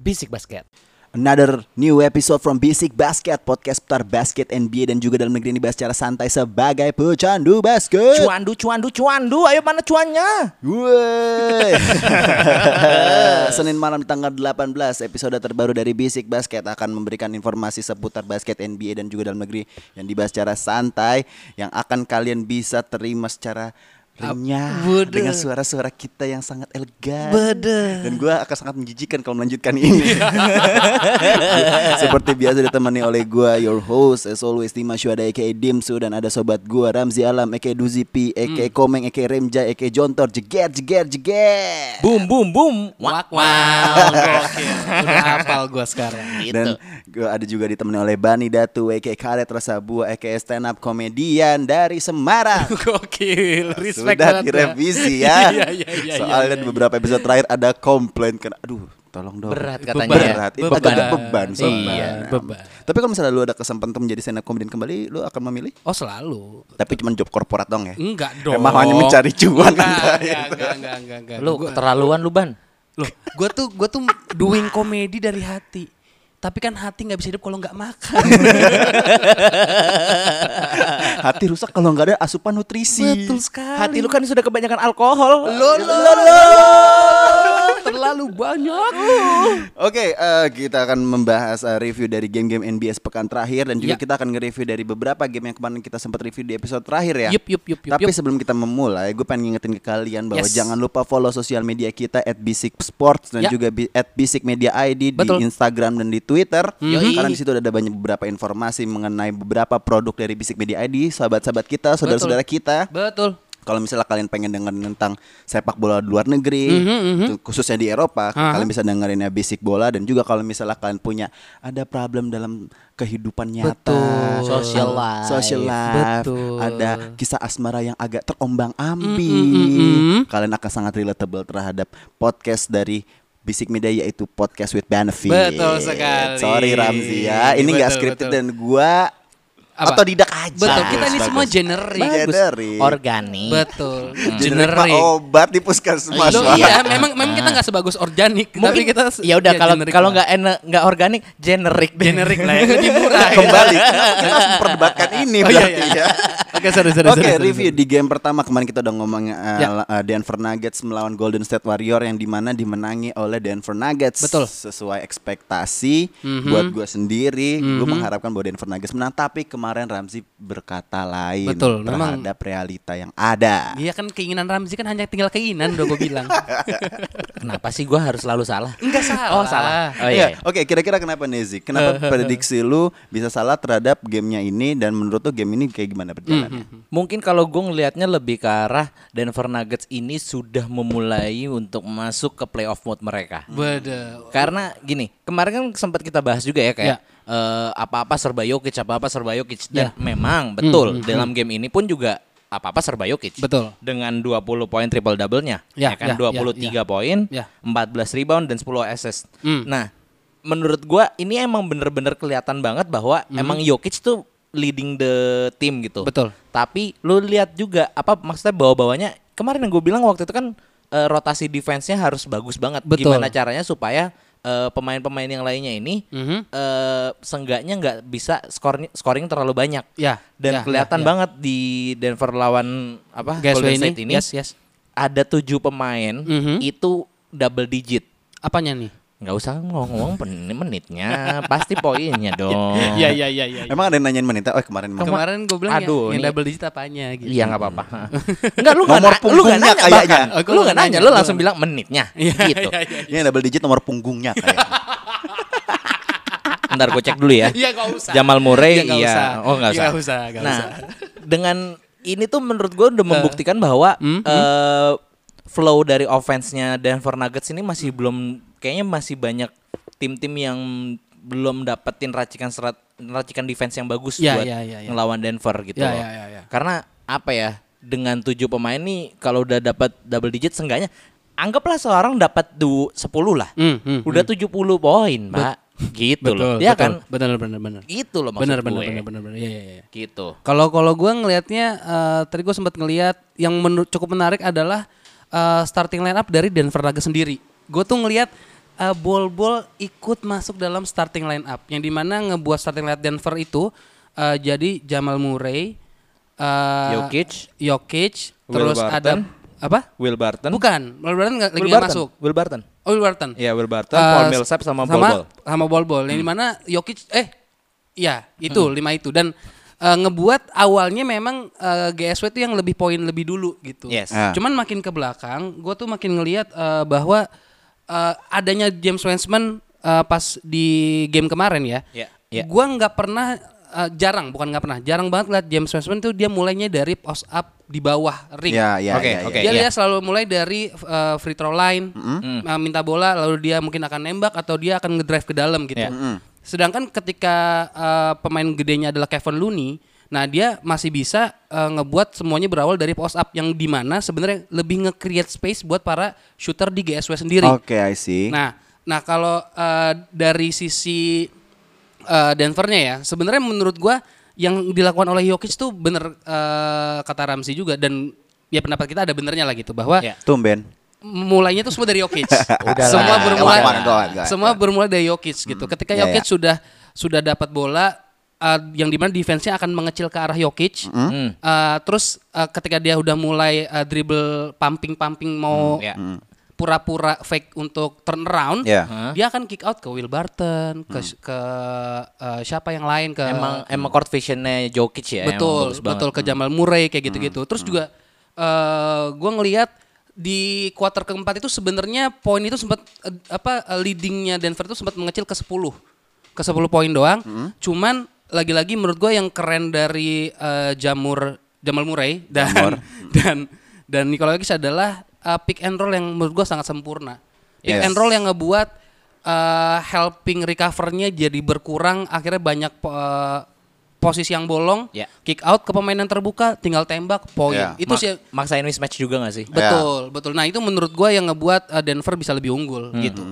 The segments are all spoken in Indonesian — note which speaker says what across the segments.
Speaker 1: Bisik Basket.
Speaker 2: Another new episode from Basic Basket Podcast putar basket NBA dan juga dalam negeri ini bahas secara santai sebagai pecandu basket.
Speaker 1: Cuandu, cuandu, cuandu. Ayo mana cuannya?
Speaker 2: Woi. Senin malam tanggal 18 episode terbaru dari Basic Basket akan memberikan informasi seputar basket NBA dan juga dalam negeri yang dibahas secara santai yang akan kalian bisa terima secara renyah
Speaker 1: Bener.
Speaker 2: dengan suara-suara kita yang sangat elegan.
Speaker 1: Bener.
Speaker 2: Dan gua akan sangat menjijikan kalau melanjutkan ini. Seperti biasa ditemani oleh gua your host as always Dimas Syuada aka Dimsu dan ada sobat gua Ramzi Alam aka Duzi P aka Komeng aka Remja aka Jontor jeger jeger jeger.
Speaker 1: Boom, boom, boom.
Speaker 3: Wak wow, gokil. Udah hafal gue sekarang.
Speaker 2: Dan gua ada juga ditemani oleh Bani Datu aka Karet Rasabua aka stand up komedian dari Semarang.
Speaker 3: Gokil, respect
Speaker 2: Sudah
Speaker 3: banget.
Speaker 2: direvisi
Speaker 3: Iya,
Speaker 2: ya.
Speaker 3: iya, iya, iya,
Speaker 2: Soalnya
Speaker 3: iya.
Speaker 2: di beberapa episode terakhir ada komplain kan. Aduh, tolong dong.
Speaker 1: Berat
Speaker 3: Beban.
Speaker 1: katanya. ya.
Speaker 2: Berat,
Speaker 3: Beban.
Speaker 2: Itu agak beban,
Speaker 3: Iya,
Speaker 2: sobat.
Speaker 3: beban.
Speaker 2: Tapi kalau misalnya lu ada kesempatan untuk menjadi stand up comedian kembali, lu akan memilih?
Speaker 3: Oh selalu.
Speaker 2: Tapi cuma job korporat dong ya?
Speaker 3: Enggak dong.
Speaker 2: Emang hanya mencari cuan Anda,
Speaker 3: Enggak,
Speaker 2: ya?
Speaker 3: enggak, enggak, enggak, enggak, enggak.
Speaker 1: Lu
Speaker 3: Gua-
Speaker 1: keterlaluan lu, Ban.
Speaker 3: Loh, gue tuh gue tuh doing komedi dari hati. Tapi kan hati nggak bisa hidup kalau nggak makan.
Speaker 2: Hati rusak kalau nggak ada asupan nutrisi.
Speaker 3: Betul sekali.
Speaker 1: Hati lu kan sudah kebanyakan alkohol.
Speaker 3: Lo, lo, lo, lo. Terlalu banyak.
Speaker 2: Oke, eh, kita akan membahas eh, review dari game-game NBS pekan terakhir dan juga
Speaker 3: Ya.
Speaker 2: kita akan nge-review dari beberapa game yang kemarin kita sempat review di episode terakhir ya.
Speaker 3: Yup, yup, yup, yup,
Speaker 2: Tapi
Speaker 3: yup.
Speaker 2: sebelum kita memulai, gue pengen ngingetin ke kalian bahwa
Speaker 3: Yes.
Speaker 2: jangan lupa follow sosial media kita @bisiksports dan
Speaker 3: Ya.
Speaker 2: juga bi- @bisikmediaid di
Speaker 3: Betul. Mhm.
Speaker 2: Instagram dan di Twitter.
Speaker 1: Yoi.
Speaker 2: Karena di situ ada banyak beberapa informasi mengenai beberapa produk dari Bisik Media ID, sahabat-sahabat kita, saudara-saudara kita
Speaker 3: Betul.
Speaker 2: kalau misalnya kalian pengen dengerin tentang sepak bola di luar negeri, tuh, khususnya di Eropa,
Speaker 3: Mhm, Aha.
Speaker 2: kalian bisa dengerin ya basic bola dan juga kalau misalnya kalian punya ada problem dalam kehidupan nyata,
Speaker 3: Betul.
Speaker 1: Social life.
Speaker 2: social life,
Speaker 3: Betul. Mhm,
Speaker 2: ada kisah asmara yang agak terombang-ambing, kalian akan sangat relatable terhadap podcast dari Bisik Media yaitu podcast with benefit.
Speaker 3: Betul sekali. Iya,
Speaker 2: Sorry Ramzi ya, ini nggak
Speaker 3: Betul,
Speaker 2: scripted
Speaker 3: betul.
Speaker 2: dan gua
Speaker 3: Apa?
Speaker 2: atau tidak aja.
Speaker 3: Betul, kita ini
Speaker 2: Bagus,
Speaker 3: semua
Speaker 2: bagus.
Speaker 3: generik.
Speaker 2: Bagus. Generik.
Speaker 1: Organik.
Speaker 3: Betul.
Speaker 2: Generik mah
Speaker 3: Hmm. Generik.
Speaker 2: Oh, obat di puskesmas.
Speaker 3: Loh,
Speaker 2: Pak.
Speaker 3: iya, memang memang kita nggak sebagus organik, tapi kita se-
Speaker 1: ya udah kalau
Speaker 3: generik
Speaker 1: kalau
Speaker 3: lah.
Speaker 1: nggak enak nggak organik generik deh.
Speaker 3: generik lah ya, lebih murah. ya.
Speaker 2: Kembali, kenapa kita harus memperdebatkan ini
Speaker 3: Oh, iya,
Speaker 2: berarti
Speaker 3: iya.
Speaker 2: ya.
Speaker 3: Oke, sorry, sorry,
Speaker 2: Oke,
Speaker 3: sorry, sorry,
Speaker 2: review
Speaker 3: sorry.
Speaker 2: di game pertama kemarin kita udah ngomong uh,
Speaker 3: Ya.
Speaker 2: uh, Denver Nuggets melawan Golden State Warrior yang dimana dimenangi oleh Denver Nuggets.
Speaker 3: Betul. Mhm.
Speaker 2: Sesuai ekspektasi buat gue sendiri, gue mengharapkan bahwa Denver Nuggets menang. Tapi kemarin Ramzi berkata lain
Speaker 3: Betul, memang-
Speaker 2: terhadap realita yang ada.
Speaker 3: Iya kan keinginan Ramzi kan hanya tinggal keinginan udah gue bilang.
Speaker 1: Kenapa sih gua harus selalu salah?
Speaker 3: Enggak salah.
Speaker 1: Oh, salah. Oh iya.
Speaker 2: Iya, Oke, kira-kira kenapa Nezi? Kenapa prediksi lu bisa salah terhadap gamenya ini dan menurut tuh game ini kayak gimana
Speaker 1: Hmm,
Speaker 2: perjalanannya?
Speaker 1: Mungkin kalau gue ngelihatnya lebih ke arah Denver Nuggets ini sudah memulai untuk masuk ke playoff mode mereka.
Speaker 3: Beda.
Speaker 1: Karena gini, kemarin kan sempat kita bahas juga ya kayak
Speaker 3: Ya.
Speaker 1: eh, apa-apa serba Jokic, apa-apa serba Jokic dan memang betul dalam game ini pun juga apa-apa serba Jokic.
Speaker 3: Betul.
Speaker 1: Dengan 20 poin triple double-nya,
Speaker 3: Ya,
Speaker 1: kan
Speaker 3: ya,
Speaker 1: 23
Speaker 3: ya, ya.
Speaker 1: poin,
Speaker 3: Ya.
Speaker 1: 14 rebound dan 10 assist.
Speaker 3: Hmm.
Speaker 1: Nah, menurut gua ini emang bener-bener kelihatan banget bahwa emang Jokic tuh leading the team gitu.
Speaker 3: Hmm. Betul.
Speaker 1: Tapi lu lihat juga apa maksudnya bawa-bawanya kemarin yang gue bilang waktu itu kan eh, rotasi defense-nya harus bagus banget.
Speaker 3: Betul.
Speaker 1: Gimana caranya supaya eh, pemain-pemain yang lainnya ini
Speaker 3: Mhm.
Speaker 1: eh, seenggaknya nggak bisa scoring scoring terlalu banyak.
Speaker 3: Ya,
Speaker 1: Dan
Speaker 3: ya,
Speaker 1: kelihatan
Speaker 3: ya, ya.
Speaker 1: banget di Denver lawan apa Golden
Speaker 3: Gasway ini,
Speaker 1: State ini,
Speaker 3: yes, yes.
Speaker 1: ada tujuh pemain
Speaker 3: Mhm.
Speaker 1: itu double digit.
Speaker 3: Apanya nih?
Speaker 1: Nggak usah ngomong-ngomong pen- menitnya, pasti poinnya dong.
Speaker 3: Iya, iya, iya, iya.
Speaker 1: hmm.
Speaker 2: Emang ada yang nanyain menita? Oh kemarin emang.
Speaker 3: Kemarin gue bilang
Speaker 1: Aduh,
Speaker 3: yang, yang
Speaker 1: ini-
Speaker 3: double digit apanya gitu.
Speaker 1: Iya nggak apa-apa. Enggak lu nggak na-
Speaker 2: Nomor
Speaker 1: lu nggak
Speaker 2: punggungnya
Speaker 1: nanya
Speaker 2: kayaknya.
Speaker 1: bahkan. Lu
Speaker 3: Aku nggak
Speaker 1: nggak nanya,
Speaker 3: ya? nanya, Iya,
Speaker 1: lu
Speaker 3: gua
Speaker 1: langsung
Speaker 3: nggak
Speaker 1: bilang menitnya gitu.
Speaker 2: Ini yang double digit nomor punggungnya ya? kayak.
Speaker 1: Ntar gue cek dulu ya.
Speaker 3: Iya, nggak usah.
Speaker 1: Jamal
Speaker 3: Iya,
Speaker 1: Murray
Speaker 3: nggak
Speaker 1: iya.
Speaker 3: usah.
Speaker 1: Oh nggak usah.
Speaker 3: Nggak usah, nggak
Speaker 1: nah,
Speaker 3: usah. Eh.
Speaker 1: dengan ini tuh menurut gue udah membuktikan bahwa
Speaker 3: Hmm,
Speaker 1: eh, flow dari offense-nya Denver Nuggets ini
Speaker 3: Hmm.
Speaker 1: masih belum kayaknya masih banyak tim-tim yang belum dapetin racikan serat racikan defense yang bagus
Speaker 3: Ya,
Speaker 1: buat
Speaker 3: ya, ya, ya.
Speaker 1: ngelawan Denver gitu
Speaker 3: Ya,
Speaker 1: loh.
Speaker 3: ya, ya, ya.
Speaker 1: Karena apa ya? Dengan tujuh pemain nih kalau udah dapat double digit seenggaknya anggaplah seorang dapat du 10 lah.
Speaker 3: Hmm, hmm,
Speaker 1: udah 70 poin, Pak. Gitu loh. Ya kan?
Speaker 3: Benar, benar, benar.
Speaker 1: Gitu loh maksud
Speaker 3: Benar, benar,
Speaker 1: gue.
Speaker 3: benar, benar, benar. Iya, iya, iya.
Speaker 1: Gitu.
Speaker 3: Kalau kalau gue ngelihatnya eh, tadi gue sempat ngelihat yang menurut cukup menarik adalah eh, starting lineup dari Denver Nuggets sendiri. Gue tuh ngelihat eh, Bol-Bol ikut masuk dalam starting line up yang dimana ngebuat starting line up Denver itu eh, jadi Jamal Murray, eh,
Speaker 1: Jokic.
Speaker 3: Jokic,
Speaker 1: Will
Speaker 3: terus
Speaker 1: Barton.
Speaker 3: ada apa?
Speaker 1: Will Barton.
Speaker 3: Bukan, Will Barton nggak- lagi
Speaker 1: Will
Speaker 3: nggak
Speaker 1: Barton.
Speaker 3: masuk.
Speaker 1: Will Barton.
Speaker 3: Oh, Will Barton.
Speaker 1: Iya, Will Barton, Paul
Speaker 3: Eh,
Speaker 1: Millsap sama Hmm.
Speaker 3: sama
Speaker 1: Bol-Bol.
Speaker 3: Sama Bol-Bol. Yang dimana Jokic eh iya, itu
Speaker 1: Hmm.
Speaker 3: lima itu dan eh, ngebuat awalnya memang eh, GSW itu yang lebih poin lebih dulu gitu.
Speaker 1: Yes.
Speaker 2: Ah.
Speaker 3: Cuman makin ke belakang, gue tuh makin ngelihat eh, bahwa eh, adanya James Wiseman eh, pas di game kemarin ya.
Speaker 1: Ya,
Speaker 3: Gue
Speaker 1: ya.
Speaker 3: Gua nggak pernah eh, jarang, bukan nggak pernah, jarang banget lihat James Wiseman tuh dia mulainya dari post up di bawah ring.
Speaker 2: Ya, ya,
Speaker 1: Oke,
Speaker 2: ya, ya.
Speaker 1: oke.
Speaker 3: Dia
Speaker 1: iya. Mm-hmm.
Speaker 3: dia selalu mulai dari uh, free throw line, uh, minta bola, lalu dia mungkin akan nembak atau dia akan ngedrive ke dalam gitu.
Speaker 1: Iya.
Speaker 3: Sedangkan ketika uh, pemain gedenya adalah Kevin Looney, nah dia masih bisa uh, ngebuat semuanya berawal dari post up yang dimana sebenarnya lebih nge-create space buat para shooter di GSW sendiri.
Speaker 2: Oke, I see.
Speaker 3: Nah, nah kalau eh, dari sisi eh, Denver-nya ya, sebenarnya menurut gua yang dilakukan oleh Jokic tuh bener eh, kata Ramsey juga dan ya pendapat kita ada benernya lah gitu bahwa
Speaker 1: Ya.
Speaker 2: Tumben.
Speaker 3: mulainya tuh semua dari Jokic.
Speaker 1: Udahlah.
Speaker 3: semua bermula
Speaker 1: Go Hmm. on,
Speaker 2: go on, go on.
Speaker 3: semua bermula dari Jokic gitu. Ketika
Speaker 2: Ya,
Speaker 3: Jokic
Speaker 2: ya.
Speaker 3: sudah sudah dapat bola uh, yang dimana defense-nya akan mengecil ke arah Jokic.
Speaker 1: Hmm.
Speaker 3: Uh, terus uh, ketika dia udah mulai uh, dribble pumping-pumping mau
Speaker 1: Hmm, ya. Hmm.
Speaker 3: pura-pura fake untuk turn around,
Speaker 2: Ya.
Speaker 3: dia akan kick out ke Will Barton,
Speaker 1: Hmm.
Speaker 3: ke ke uh, siapa yang lain ke
Speaker 1: Emang emang court visionnya Jokic ya. emang
Speaker 3: betul
Speaker 1: bagus banget.
Speaker 3: betul ke Jamal Murray kayak gitu-gitu terus juga eh gue ngelihat di kuarter keempat itu sebenarnya poin itu sempat eh, apa eh, leadingnya Denver itu sempat mengecil ke 10 ke 10 poin doang cuman lagi-lagi menurut gue yang keren dari eh, Jamur Jamal Murray dan dan dan Nikola Jokic adalah eh, pick and roll yang menurut gue sangat sempurna pick
Speaker 2: Yes.
Speaker 3: and roll yang ngebuat eh, helping recovernya jadi berkurang akhirnya banyak eh, posisi yang bolong
Speaker 1: Ya.
Speaker 3: kick out ke pemain yang terbuka tinggal tembak poin
Speaker 2: Ya,
Speaker 3: itu
Speaker 1: Ma-
Speaker 3: sih
Speaker 1: maksain mismatch juga gak sih?
Speaker 3: betul betul nah itu menurut gua yang ngebuat uh, Denver bisa lebih unggul
Speaker 2: Hmm.
Speaker 3: gitu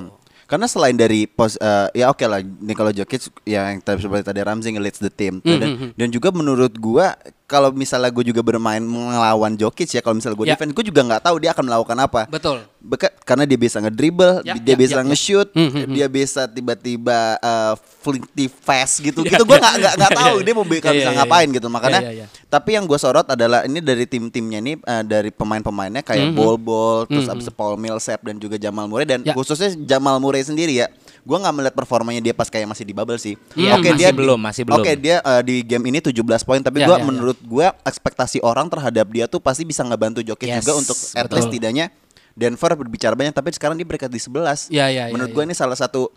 Speaker 2: Karena selain dari pos eh, ya oke lah Nikola Jokic ya, yang tadi seperti tadi Ramsey nge-leads the team
Speaker 1: Hmm,
Speaker 2: tuh. dan, dan juga menurut gua kalau misalnya gue juga bermain melawan Jokic ya kalau misalnya gue
Speaker 3: Ya.
Speaker 2: defense gue juga nggak tahu dia akan melakukan apa.
Speaker 3: betul
Speaker 2: Beka- karena dia bisa ngedribble,
Speaker 3: Ya,
Speaker 2: dia
Speaker 3: ya,
Speaker 2: bisa
Speaker 3: ya, ya.
Speaker 2: nge-shoot, dia bisa tiba-tiba eh, flinty fast gitu. gitu gua nggak nggak nggak tahu dia mau be-
Speaker 3: Ya, ya,
Speaker 2: bisa
Speaker 3: ya, ya.
Speaker 2: ngapain gitu. Makanya
Speaker 3: Ya, ya, ya.
Speaker 2: tapi yang gue sorot adalah ini dari tim-timnya nih eh, dari pemain-pemainnya kayak
Speaker 3: Hmm,
Speaker 2: Bol-Bol, terus abis itu Paul Millsap dan juga Jamal Murray dan
Speaker 3: Ya.
Speaker 2: khususnya Jamal Murray sendiri ya. Gua nggak melihat performanya dia pas kayak masih di bubble sih.
Speaker 3: Hmm,
Speaker 1: Iya,
Speaker 2: Oke
Speaker 1: masih
Speaker 2: dia
Speaker 1: belum, masih belum.
Speaker 2: Oke dia eh, di game ini 17 poin tapi
Speaker 3: Ya,
Speaker 2: gua
Speaker 3: ya, ya.
Speaker 2: menurut gua ekspektasi orang terhadap dia tuh pasti bisa ngebantu Jokic
Speaker 1: Yes,
Speaker 2: juga untuk at
Speaker 1: betul.
Speaker 2: least setidaknya Denver berbicara banyak tapi sekarang dia peringkat di 11.
Speaker 3: Ya, ya, ya,
Speaker 2: Menurut
Speaker 3: ya.
Speaker 2: gue ini salah satu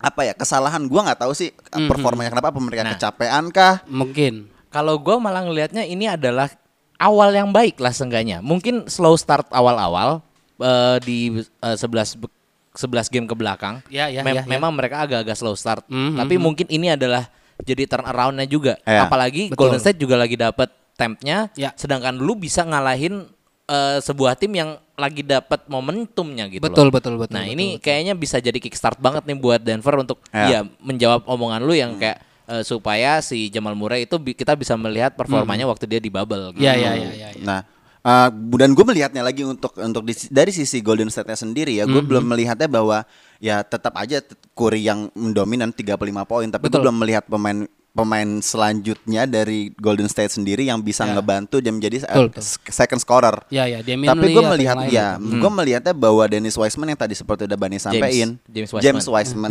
Speaker 2: apa ya kesalahan gua nggak tahu sih eh, performanya kenapa apa mereka
Speaker 3: Nah.
Speaker 2: kecapean kah?
Speaker 3: mungkin
Speaker 1: Kalau gue malah ngelihatnya ini adalah awal yang baik lah seenggaknya. Mungkin slow start awal-awal eh, di eh, 11 be- 11 game ke belakang.
Speaker 3: Ya, ya,
Speaker 1: Mem-
Speaker 3: ya, ya.
Speaker 1: Memang mereka agak-agak slow start.
Speaker 3: Mhm,
Speaker 1: Tapi mungkin ini adalah jadi turn around-nya juga.
Speaker 2: Ya.
Speaker 1: Apalagi
Speaker 3: Betul.
Speaker 1: Golden State juga lagi dapat tempnya.
Speaker 3: Ya.
Speaker 1: Sedangkan lu bisa ngalahin eh, sebuah tim yang lagi dapat momentumnya gitu. loh.
Speaker 3: betul, betul betul
Speaker 1: Nah
Speaker 3: betul,
Speaker 1: ini
Speaker 3: betul.
Speaker 1: kayaknya bisa jadi kickstart banget nih buat Denver untuk
Speaker 2: Ya.
Speaker 1: ya menjawab omongan lu yang kayak eh, supaya si Jamal Murray itu bi- kita bisa melihat performanya waktu dia di bubble. gitu.
Speaker 3: ya ya ya ya, ya.
Speaker 2: Nah, uh, dan gue melihatnya lagi untuk untuk di- dari sisi Golden State-nya sendiri ya, gue
Speaker 3: Mm-hmm.
Speaker 2: belum melihatnya bahwa ya tetap aja t- Curry yang mendominan 35 poin, tapi gue
Speaker 3: Betul.
Speaker 2: belum melihat pemain pemain selanjutnya dari Golden State sendiri yang bisa
Speaker 3: Ya.
Speaker 2: ngebantu dan menjadi uh,
Speaker 3: Betul, betul.
Speaker 2: s- second scorer.
Speaker 3: Ya, ya, Damian
Speaker 2: Tapi
Speaker 3: Lee
Speaker 2: gue
Speaker 3: atau yang
Speaker 2: melihat
Speaker 3: lain gitu. Hmm.
Speaker 2: ya, gue melihatnya bahwa Dennis Wiseman yang tadi seperti udah Bani sampein,
Speaker 1: James
Speaker 2: James
Speaker 1: Wiseman.
Speaker 2: Wiseman.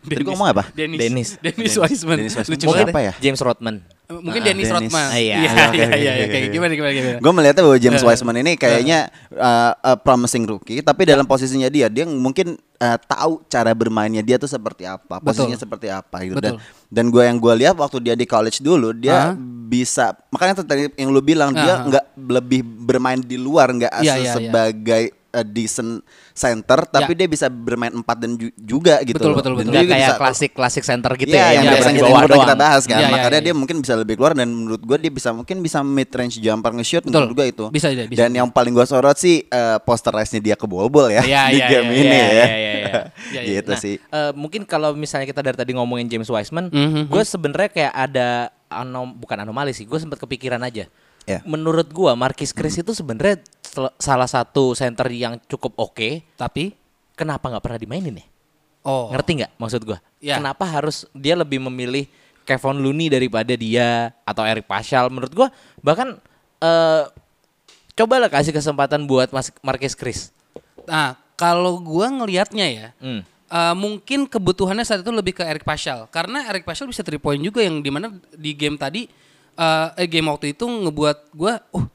Speaker 2: Tadi gue ngomong apa?
Speaker 3: Dennis
Speaker 1: Dennis.
Speaker 3: Dennis Wiseman
Speaker 2: Dennis Wiseman.
Speaker 3: lucu
Speaker 2: Mungkin
Speaker 3: banget
Speaker 2: apa ya?
Speaker 1: James Rodman.
Speaker 3: Eh, mungkin
Speaker 2: Ah,
Speaker 3: Dennis
Speaker 2: Dennis.
Speaker 3: Rodman
Speaker 1: Ah, iya.
Speaker 2: Oke,
Speaker 3: iya
Speaker 2: oke,
Speaker 3: iya
Speaker 2: oke,
Speaker 3: oke
Speaker 2: oke.
Speaker 3: gimana gimana gimana
Speaker 2: Gue melihatnya bahwa James Wiseman ini kayaknya uh, uh, promising rookie,
Speaker 3: Iya.
Speaker 2: tapi dalam posisinya dia, dia mungkin uh, tahu cara bermainnya dia tuh seperti apa, posisinya
Speaker 3: Betul.
Speaker 2: seperti apa gitu. Dan
Speaker 3: Betul.
Speaker 2: dan gue yang gue lihat waktu dia di college dulu, dia
Speaker 3: Hah?
Speaker 2: bisa makanya tuh tadi yang lu bilang dia
Speaker 3: Aha.
Speaker 2: nggak lebih bermain di luar, nggak se-
Speaker 3: Iya, iya, iya.
Speaker 2: sebagai uh, decent center, tapi
Speaker 3: Ya.
Speaker 2: dia bisa bermain empat dan ju- juga gitu.
Speaker 3: Betul,
Speaker 2: loh.
Speaker 3: betul,
Speaker 2: Dan
Speaker 3: betul.
Speaker 2: dia
Speaker 1: Nggak kayak
Speaker 2: bisa-
Speaker 1: klasik klasik center gitu
Speaker 2: Iya,
Speaker 1: ya
Speaker 2: yang
Speaker 3: iya,
Speaker 1: bener
Speaker 2: biasa
Speaker 1: di
Speaker 2: kita,
Speaker 1: bawah
Speaker 2: yang udah
Speaker 1: doang.
Speaker 2: kita bahas kan.
Speaker 3: Iya, iya,
Speaker 2: Makanya
Speaker 3: iya.
Speaker 2: dia mungkin bisa lebih keluar dan menurut gue dia bisa mungkin bisa mid range jumper nge-shoot
Speaker 3: Betul.
Speaker 2: menurut gue itu.
Speaker 3: Bisa, bisa, bisa.
Speaker 2: Dan yang paling gue sorot sih eh, posterize-nya dia ke bol-bol ya
Speaker 3: Iya,
Speaker 2: di
Speaker 3: iya,
Speaker 2: game
Speaker 3: iya,
Speaker 2: ini
Speaker 1: Iya,
Speaker 2: ya.
Speaker 1: iya, iya, iya.
Speaker 3: Iya, iya.
Speaker 2: gitu
Speaker 1: Nah,
Speaker 2: sih.
Speaker 1: eh, mungkin kalau misalnya kita dari tadi ngomongin James Wiseman,
Speaker 3: Mhm.
Speaker 1: gue sebenarnya kayak ada anom bukan anomali sih, gue sempat kepikiran aja.
Speaker 2: Ya. Mhm.
Speaker 1: Menurut gue, Marquis Chris itu sebenarnya sel- salah satu center yang cukup oke,
Speaker 3: tapi
Speaker 1: kenapa nggak pernah dimainin ya?
Speaker 3: Oh.
Speaker 1: Ngerti nggak maksud gua?
Speaker 3: Ya.
Speaker 1: Kenapa harus dia lebih memilih Kevin Looney daripada dia atau Eric Paschal menurut gua bahkan eh cobalah kasih kesempatan buat Mas Marquez Chris.
Speaker 3: Nah, kalau gua ngelihatnya ya,
Speaker 1: Hmm.
Speaker 3: eh, mungkin kebutuhannya saat itu lebih ke Eric Paschal karena Eric Paschal bisa 3 point juga yang dimana di game tadi eh, eh game waktu itu ngebuat gua oh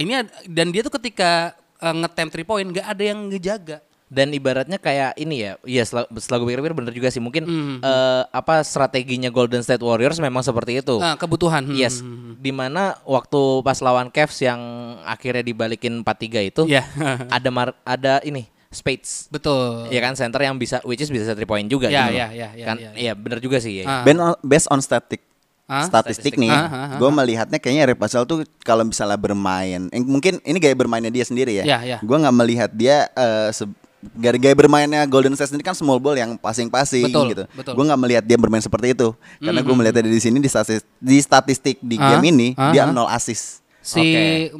Speaker 3: ini ad- dan dia tuh ketika eh, ngetem 3 point nggak ada yang ngejaga.
Speaker 1: Dan ibaratnya kayak ini ya, iya setelah, setelah gue pikir-pikir bener juga sih mungkin
Speaker 3: Hmm,
Speaker 1: eh, apa strateginya Golden State Warriors memang seperti itu.
Speaker 3: Nah, kebutuhan. Hmm.
Speaker 1: Yes, dimana waktu pas lawan Cavs yang akhirnya dibalikin 4-3 itu,
Speaker 3: Iya. Oh.
Speaker 1: ada mar- ada ini Spades,
Speaker 3: Betul.
Speaker 1: ya kan center yang bisa which is bisa three point juga
Speaker 3: Ya,
Speaker 1: gitu
Speaker 3: ya,
Speaker 1: loh.
Speaker 3: ya, ya,
Speaker 1: kan,
Speaker 3: ya,
Speaker 1: ya,
Speaker 3: ya.
Speaker 1: bener juga sih. Ya.
Speaker 3: Ah.
Speaker 2: Ben- based on statistik
Speaker 3: Ah,
Speaker 2: statistik, nih,
Speaker 3: Ah, ah, ah,
Speaker 2: gue melihatnya kayaknya Eric Paschal tuh kalau misalnya bermain, eh, mungkin ini gaya bermainnya dia sendiri ya.
Speaker 3: Ya, ya.
Speaker 2: Gue nggak melihat dia eh, se- gaya, gaya bermainnya Golden State sendiri kan small ball yang passing-passing
Speaker 3: Betul,
Speaker 2: gitu.
Speaker 3: betul. Mm-hmm.
Speaker 2: Gue nggak melihat dia bermain seperti itu, karena gue melihatnya di sini di statistik di, statistik di
Speaker 3: Ah,
Speaker 2: game ini
Speaker 3: ah,
Speaker 2: dia
Speaker 3: ah.
Speaker 2: nol assist.
Speaker 3: Si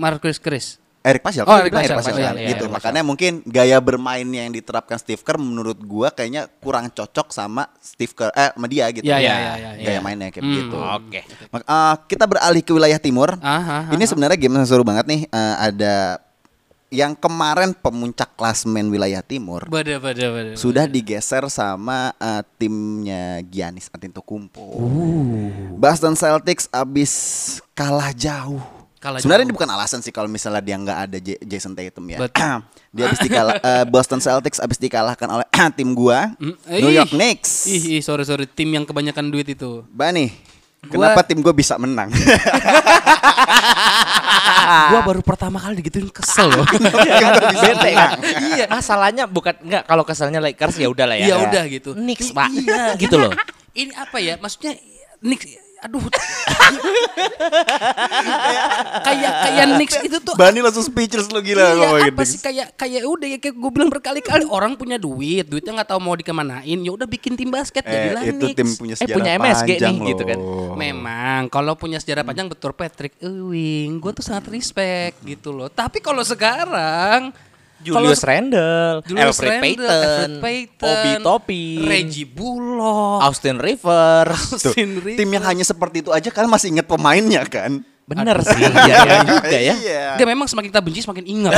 Speaker 3: Marcus Chris.
Speaker 2: Eric Paschal,
Speaker 3: Oh,
Speaker 2: kan
Speaker 3: Eric
Speaker 2: dibilang
Speaker 3: Paschal, Paschal, iya,
Speaker 2: gitu.
Speaker 3: Eric
Speaker 2: Makanya mungkin gaya bermainnya yang diterapkan Steve Kerr menurut gua kayaknya kurang cocok sama Steve Kerr eh sama dia gitu.
Speaker 3: Iya, iya,
Speaker 2: ya
Speaker 3: iya, iya, iya.
Speaker 2: Gaya mainnya kayak begitu.
Speaker 3: hmm.
Speaker 1: Oke.
Speaker 2: Mak- eh, kita beralih ke wilayah timur.
Speaker 3: Ah, ah,
Speaker 2: Ini sebenarnya game yang seru banget nih. Eh, ada yang kemarin pemuncak klasmen wilayah timur
Speaker 3: Bada, bada, bada.
Speaker 2: sudah digeser sama eh, timnya Giannis Antetokounmpo. Boston Celtics abis kalah jauh.
Speaker 3: Kalah
Speaker 2: Sebenarnya
Speaker 3: jauh.
Speaker 2: ini bukan alasan sih kalau misalnya dia nggak ada J- Jason Tatum ya.
Speaker 3: Betul.
Speaker 2: dia abis dikala- eh, Boston Celtics abis dikalahkan oleh tim gua
Speaker 3: Mm,
Speaker 2: New
Speaker 3: ih.
Speaker 2: York Knicks.
Speaker 3: Ih, ih, sorry, sorry. Tim yang kebanyakan duit itu.
Speaker 2: Bani,
Speaker 3: Gua-
Speaker 2: kenapa tim gua bisa menang?
Speaker 1: Ah.
Speaker 3: Gua baru pertama kali digituin kesel loh. Nah,
Speaker 1: Bete kan? Iya. Masalahnya bukan enggak kalau kesalnya Lakers ya udahlah ya.
Speaker 3: Ya udah gitu.
Speaker 1: Knicks,
Speaker 3: I-
Speaker 1: Pak.
Speaker 3: Iya.
Speaker 1: gitu loh.
Speaker 3: Ini apa ya? Maksudnya Knicks aduh. kayak kayak Knicks itu tuh
Speaker 2: Bani langsung speechless lu gila
Speaker 3: iya,
Speaker 2: ngomongin
Speaker 3: apa
Speaker 2: Knicks.
Speaker 3: sih kayak kayak udah ya kayak gue bilang berkali-kali orang punya duit, duitnya nggak tahu mau dikemanain, ya udah bikin tim basket
Speaker 2: Eh,
Speaker 3: jadilah
Speaker 2: itu
Speaker 3: Knicks.
Speaker 2: tim punya
Speaker 1: Eh,
Speaker 2: sejarah
Speaker 1: punya MSG nih,
Speaker 2: panjang
Speaker 1: gitu kan.
Speaker 2: loh.
Speaker 3: Memang kalau punya sejarah panjang betul Patrick Ewing, gue tuh sangat respect gitu loh. Tapi kalau sekarang kalau
Speaker 1: Julius Randle,
Speaker 3: Julius
Speaker 1: Alfred
Speaker 3: Randle,
Speaker 1: Payton,
Speaker 3: Alfred Payton,
Speaker 1: Obi Toppin,
Speaker 3: Reggie Bullock,
Speaker 1: Austin Rivers.
Speaker 2: Tuh,
Speaker 3: Austin Reeves.
Speaker 2: tim yang hanya seperti itu aja kan masih inget pemainnya kan?
Speaker 1: Bener sih, iya iya juga ya.
Speaker 2: Iya.
Speaker 3: Dia memang semakin kita benci semakin ingat.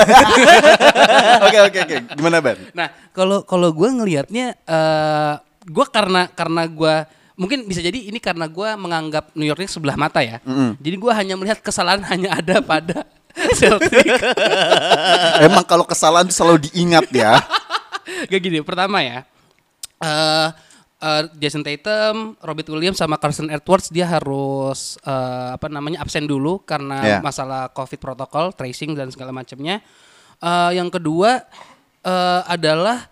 Speaker 2: Oke oke oke. Gimana Ben?
Speaker 3: nah, kalau kalau gue ngelihatnya eh gue karena karena gue mungkin bisa jadi ini karena gue menganggap New York ini sebelah mata ya. Jadi gue hanya melihat kesalahan hanya ada pada Celtic.
Speaker 2: Emang kalau kesalahan tuh selalu diingat ya.
Speaker 3: Gak gini, pertama ya. eh eh, Jason Tatum, Robert Williams sama Carson Edwards dia harus eh, apa namanya absen dulu karena
Speaker 2: Iya.
Speaker 3: masalah Covid protokol, tracing dan segala macamnya. Eh, yang kedua eh, adalah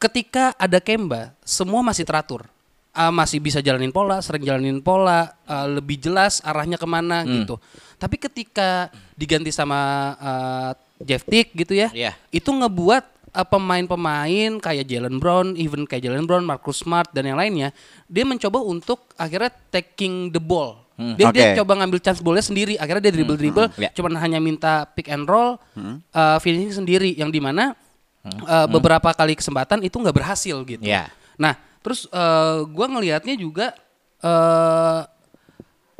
Speaker 3: ketika ada Kemba, semua masih teratur. Eh, masih bisa jalanin pola, sering jalanin pola, eh, lebih jelas arahnya kemana gitu. Tapi ketika diganti sama eh, Jeff Tick gitu ya,
Speaker 1: Iya.
Speaker 3: itu ngebuat uh, pemain-pemain kayak Jalen Brown, even kayak Jalen Brown, Marcus Smart dan yang lainnya, dia mencoba untuk akhirnya taking the ball. Dia, dia
Speaker 2: Oke.
Speaker 3: coba ngambil chance ballnya sendiri. Akhirnya dia dribble dribble,
Speaker 1: hmm, ya. Hmm.
Speaker 3: cuman hanya minta pick and roll, uh, finishing sendiri. Yang dimana uh, beberapa kali kesempatan itu nggak berhasil gitu.
Speaker 1: Ya.
Speaker 3: Nah, terus eh, gua ngelihatnya juga eh